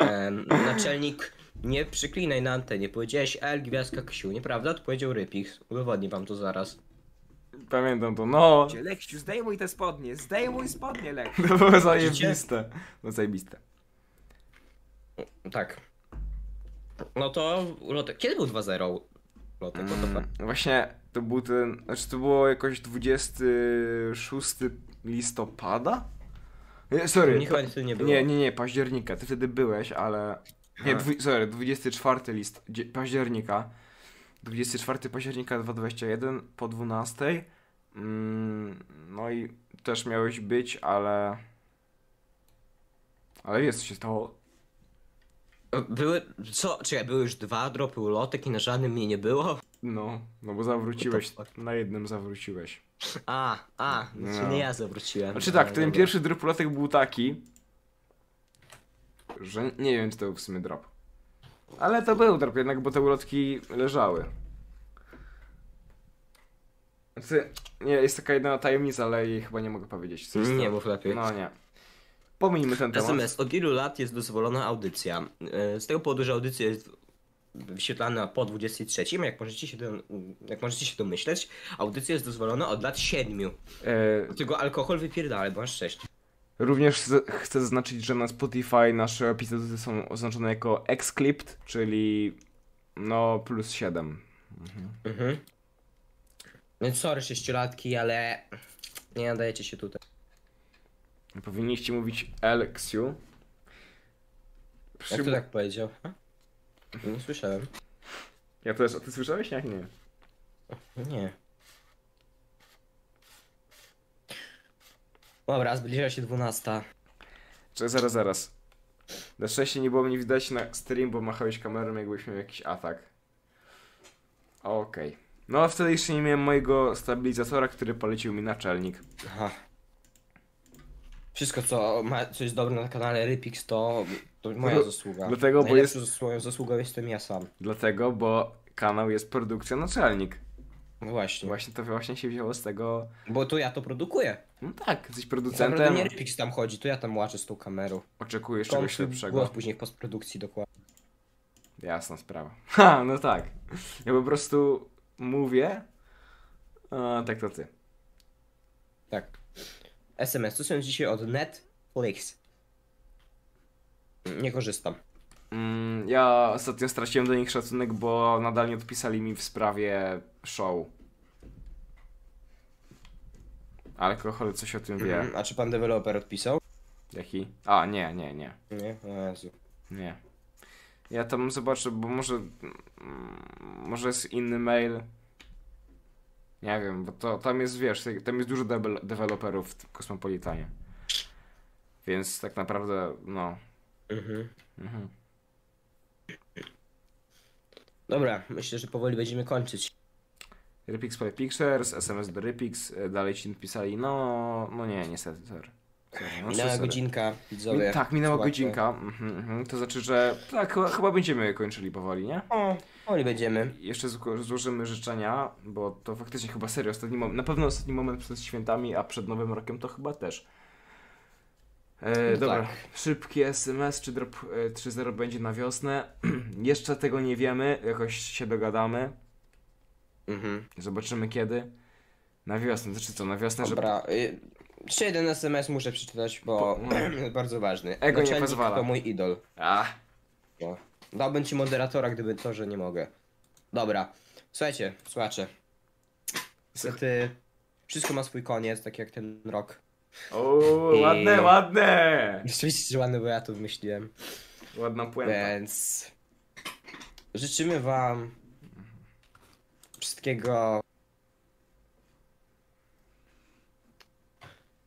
Speaker 3: E, Em, naczelnik, nie przyklinaj na antenie, powiedziałeś L, gwiazdka Ksiu, nieprawda? Odpowiedział Rypix, udowodni wam to zaraz.
Speaker 2: Pamiętam to, no.
Speaker 4: Leksiu, zdejmuj te spodnie, zdejmuj spodnie, Leksiu.
Speaker 2: (laughs) To było zajebiste. No zajebiste.
Speaker 3: Tak. No to, Lotek, kiedy był 2-0? Lotek, o to
Speaker 2: Mm, właśnie to był ten, znaczy to było jakoś 26 listopada? Nie, sorry,
Speaker 3: Nie,
Speaker 2: pa-
Speaker 3: chyba wtedy nie było.
Speaker 2: nie, nie, nie, października, ty wtedy byłeś, ale... Nie,
Speaker 3: Aha.
Speaker 2: dwu, sorry, 24 list dzie- października. 24 października 2021 po 12. Mm, no i też miałeś być, ale... Ale wiesz co się stało.
Speaker 3: Były, co, czekaj, były już dwa dropy ulotek i na żadnym mnie nie było?
Speaker 2: No, no bo zawróciłeś,
Speaker 3: What the
Speaker 2: na jednym zawróciłeś.
Speaker 3: A, a, no.
Speaker 2: No.
Speaker 3: czyli nie ja zawróciłem.
Speaker 2: Znaczy tak,
Speaker 3: A,
Speaker 2: ten
Speaker 3: dobra.
Speaker 2: pierwszy drop lotek był taki, że nie wiem, czy to był w sumie drop. Ale to był drop jednak, bo te ulotki leżały. Znaczy, nie, jest taka jedna tajemnica, ale jej chyba nie mogę powiedzieć. Co jest
Speaker 3: Nie
Speaker 2: to.
Speaker 3: mów lepiej.
Speaker 2: No nie. Pomijmy ten temat.
Speaker 3: Natomiast od ilu lat jest dozwolona audycja? E, Z tego powodu, że audycja jest wyświetlana po 23, jak możecie się, do, jak możecie się domyśleć, audycja jest dozwolona od lat 7.
Speaker 2: E,
Speaker 3: Dlatego alkohol wypierdala, bo masz 6.
Speaker 2: Również z- chcę zaznaczyć, że na Spotify nasze epizody są oznaczone jako Exclipped, czyli no plus 7.
Speaker 3: Mhm. Więc sorry, sześciolatki, ale nie nadajecie się tutaj.
Speaker 2: Powinniście mówić Elxiu.
Speaker 3: Jak
Speaker 2: Przy...
Speaker 3: to tak powiedział? Ha? Nie słyszałem.
Speaker 2: Ja też, a ty słyszałeś? Jak nie?
Speaker 3: Nie. Dobra, zbliża się 12.
Speaker 2: Czy zaraz, zaraz. Na szczęście nie było mnie widać na stream, bo machałeś kamerą, jakbyś miał jakiś atak. Okej. No, wtedy jeszcze nie miałem mojego stabilizatora, który polecił mi naczelnik.
Speaker 3: Aha. Wszystko, co, ma, co jest dobre na kanale Rypix, to, to moja
Speaker 2: Dlatego-
Speaker 3: zasługa.
Speaker 2: dlatego, bo
Speaker 3: Najlepszą zasługą, zasługą jestem ja sam.
Speaker 2: Dlatego, bo kanał jest produkcja naczelnik.
Speaker 3: No właśnie.
Speaker 2: Właśnie to właśnie się wzięło z tego...
Speaker 3: Bo to ja to produkuję.
Speaker 2: No tak, jesteś
Speaker 3: Naprawdę
Speaker 2: producentem,
Speaker 3: nie Rypix tam chodzi, to ja tam łaczę z tą kamerą.
Speaker 2: oczekujesz czegoś
Speaker 3: Komputer,
Speaker 2: lepszego.
Speaker 3: Głos później w postprodukcji dokładnie.
Speaker 2: Jasna sprawa. (laughs) Ha, no tak. Ja po prostu mówię. A, tak to ty.
Speaker 3: Tak. SMS, co sądzisz dzisiaj od Netflix? Nie korzystam.
Speaker 2: Mm, ja ostatnio straciłem do nich szacunek, bo nadal nie odpisali mi w sprawie show. Alkohol coś o tym wie.
Speaker 3: Mhm. A czy pan deweloper odpisał?
Speaker 2: Jaki? A, nie, nie, nie.
Speaker 3: Nie, o Jezu.
Speaker 2: Nie. Ja tam zobaczę, bo może. mm, Może jest inny mail. Nie wiem, bo to tam jest, wiesz, tam jest dużo debel- deweloperów w tym kosmopolitanie. Więc tak naprawdę, no.
Speaker 3: Mhm.
Speaker 2: Mhm.
Speaker 3: Dobra, myślę, że powoli będziemy kończyć.
Speaker 2: Rypix Play Pictures, SMS do Rypix, e, dalej ci pisali, no, no nie, niestety, sorry. sorry no,
Speaker 3: Minęła
Speaker 2: sorry.
Speaker 3: godzinka,
Speaker 2: Mi,
Speaker 3: widzowie.
Speaker 2: tak, minęła
Speaker 3: Słuchajcie.
Speaker 2: godzinka. Mhm, mhm. To znaczy, że tak, chyba, chyba będziemy kończyli powoli, nie?
Speaker 3: O, powoli będziemy.
Speaker 2: Jeszcze zło- złożymy życzenia, bo to faktycznie chyba serio ostatni moment, na pewno ostatni moment przed świętami, a przed Nowym Rokiem to chyba też. E,
Speaker 3: No
Speaker 2: dobra,
Speaker 3: tak.
Speaker 2: szybki SMS czy drop e, 3.0 będzie na wiosnę. (clears throat) Jeszcze tego nie wiemy, jakoś się dogadamy.
Speaker 3: Mhm.
Speaker 2: Zobaczymy kiedy. Na wiosnę, znaczy co, na wiosnę, że
Speaker 3: Dobra. y, Jeszcze jeden SMS muszę przeczytać, bo (clears throat)
Speaker 2: Po-
Speaker 3: bardzo ważny.
Speaker 2: Ego nie
Speaker 3: Naczelnik
Speaker 2: pozwala.
Speaker 3: to mój idol.
Speaker 2: A,
Speaker 3: No. Dałbym ci moderatora, gdyby to, że nie mogę. Dobra. Słuchajcie, słuchacze. Niestety wszystko ma swój koniec, tak jak ten rok. (laughs)
Speaker 2: o,
Speaker 3: I-
Speaker 2: ładne, ładne!
Speaker 3: Rzeczywiście, że ładny, bo ja to wymyśliłem.
Speaker 2: Ładna puenta.
Speaker 3: Więc życzymy wam wszystkiego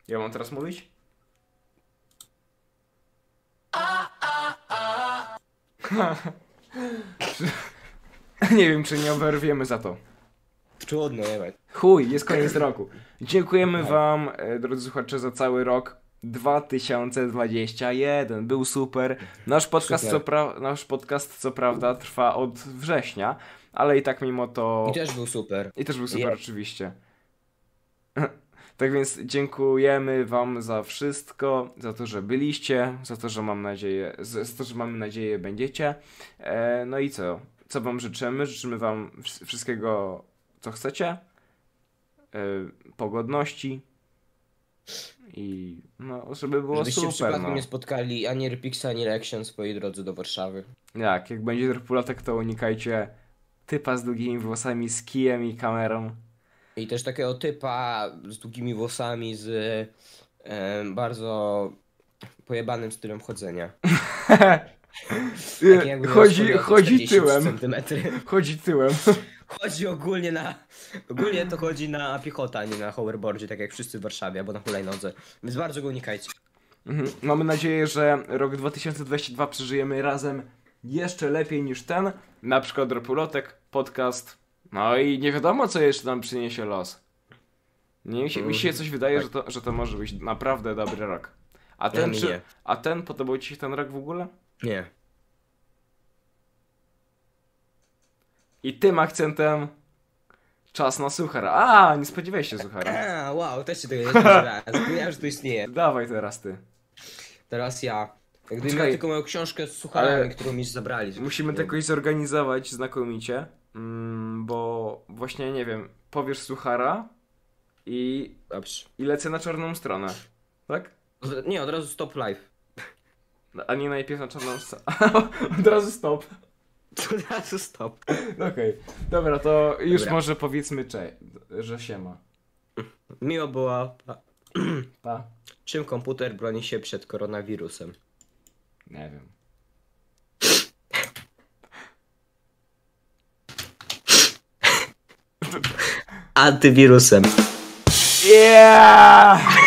Speaker 2: Ja mam teraz mówić? (laughs) nie wiem, czy nie oberwiemy za to.
Speaker 3: trudno, nie wiem.
Speaker 2: Chuj, jest koniec roku. Dziękujemy wam, e, drodzy słuchacze, za cały rok 2021. Był super. Nasz podcast, co,
Speaker 3: Super.
Speaker 2: pra- nasz podcast co prawda trwa od września, ale i tak mimo to...
Speaker 3: I też był super.
Speaker 2: I też był super
Speaker 3: Je-
Speaker 2: oczywiście. (laughs) Tak więc dziękujemy Wam za wszystko, za to, że byliście, za to, że mam nadzieję, za za to, że mamy nadzieję będziecie. E, no i co? Co Wam życzymy? Życzymy Wam wsz- wszystkiego, co chcecie. E, pogodności. I no, żeby było
Speaker 3: Żebyście
Speaker 2: super.
Speaker 3: przypadkiem
Speaker 2: No.
Speaker 3: nie spotkali ani Repixa, ani Lexion w swojej drodze do Warszawy.
Speaker 2: Jak, jak będzie drpulatek, to unikajcie typa z długimi włosami, z kijem i kamerą.
Speaker 3: I też takiego typa z długimi włosami, z em, bardzo pojebanym stylem chodzenia. Taki jakby
Speaker 2: chodzi
Speaker 3: miał
Speaker 2: chodzi
Speaker 3: 40
Speaker 2: tyłem.
Speaker 3: centymetry. (laughs)
Speaker 2: Chodzi tyłem. (laughs)
Speaker 3: Chodzi ogólnie na. Ogólnie to chodzi na piechota, a nie na hoverboardzie, tak jak wszyscy w Warszawie, albo na hulajnodze. Więc bardzo go unikajcie.
Speaker 2: Mhm. Mamy nadzieję, że rok 2022 przeżyjemy razem jeszcze lepiej niż ten. Na przykład Ropulotek, podcast. No i nie wiadomo, co jeszcze nam przyniesie los. Nie, mi, się, mi się coś wydaje, że, to, że to może być naprawdę dobry rok. A ten,
Speaker 3: mi
Speaker 2: czy,
Speaker 3: nie.
Speaker 2: a ten podobał Ci się ten rok w ogóle?
Speaker 3: Nie.
Speaker 2: I tym akcentem czas na suchara. A, nie spodziewałeś
Speaker 3: (laughs)
Speaker 2: się suchara.
Speaker 3: A, wow, też się tego nie spodziewałem. (laughs) Zapomniałem, że to istnieje.
Speaker 2: Dawaj teraz ty.
Speaker 3: Teraz ja. Gdybym
Speaker 2: Czekaj.
Speaker 3: miał tylko moją książkę z sucharami,
Speaker 2: Ale-
Speaker 3: którą mi zabrali.
Speaker 2: Musimy to jakoś zorganizować znakomicie, mm, bo właśnie nie wiem, powiesz suchara i,
Speaker 3: Dobrze.
Speaker 2: i lecę na czarną stronę. Tak? No,
Speaker 3: Od- Nie, od razu stop live.
Speaker 2: A nie najpierw na czarną stronę. (laughs) Od razu stop.
Speaker 3: (laughs)
Speaker 2: No
Speaker 3: Od razu stop.
Speaker 2: Okej. Dobra, to już
Speaker 3: Dobra.
Speaker 2: może powiedzmy cze, że się ma.
Speaker 3: Miło było. a,
Speaker 2: Ta?
Speaker 3: Czym komputer broni się przed koronawirusem?
Speaker 2: Nie wiem.
Speaker 3: Antywirusem.
Speaker 2: Yeah!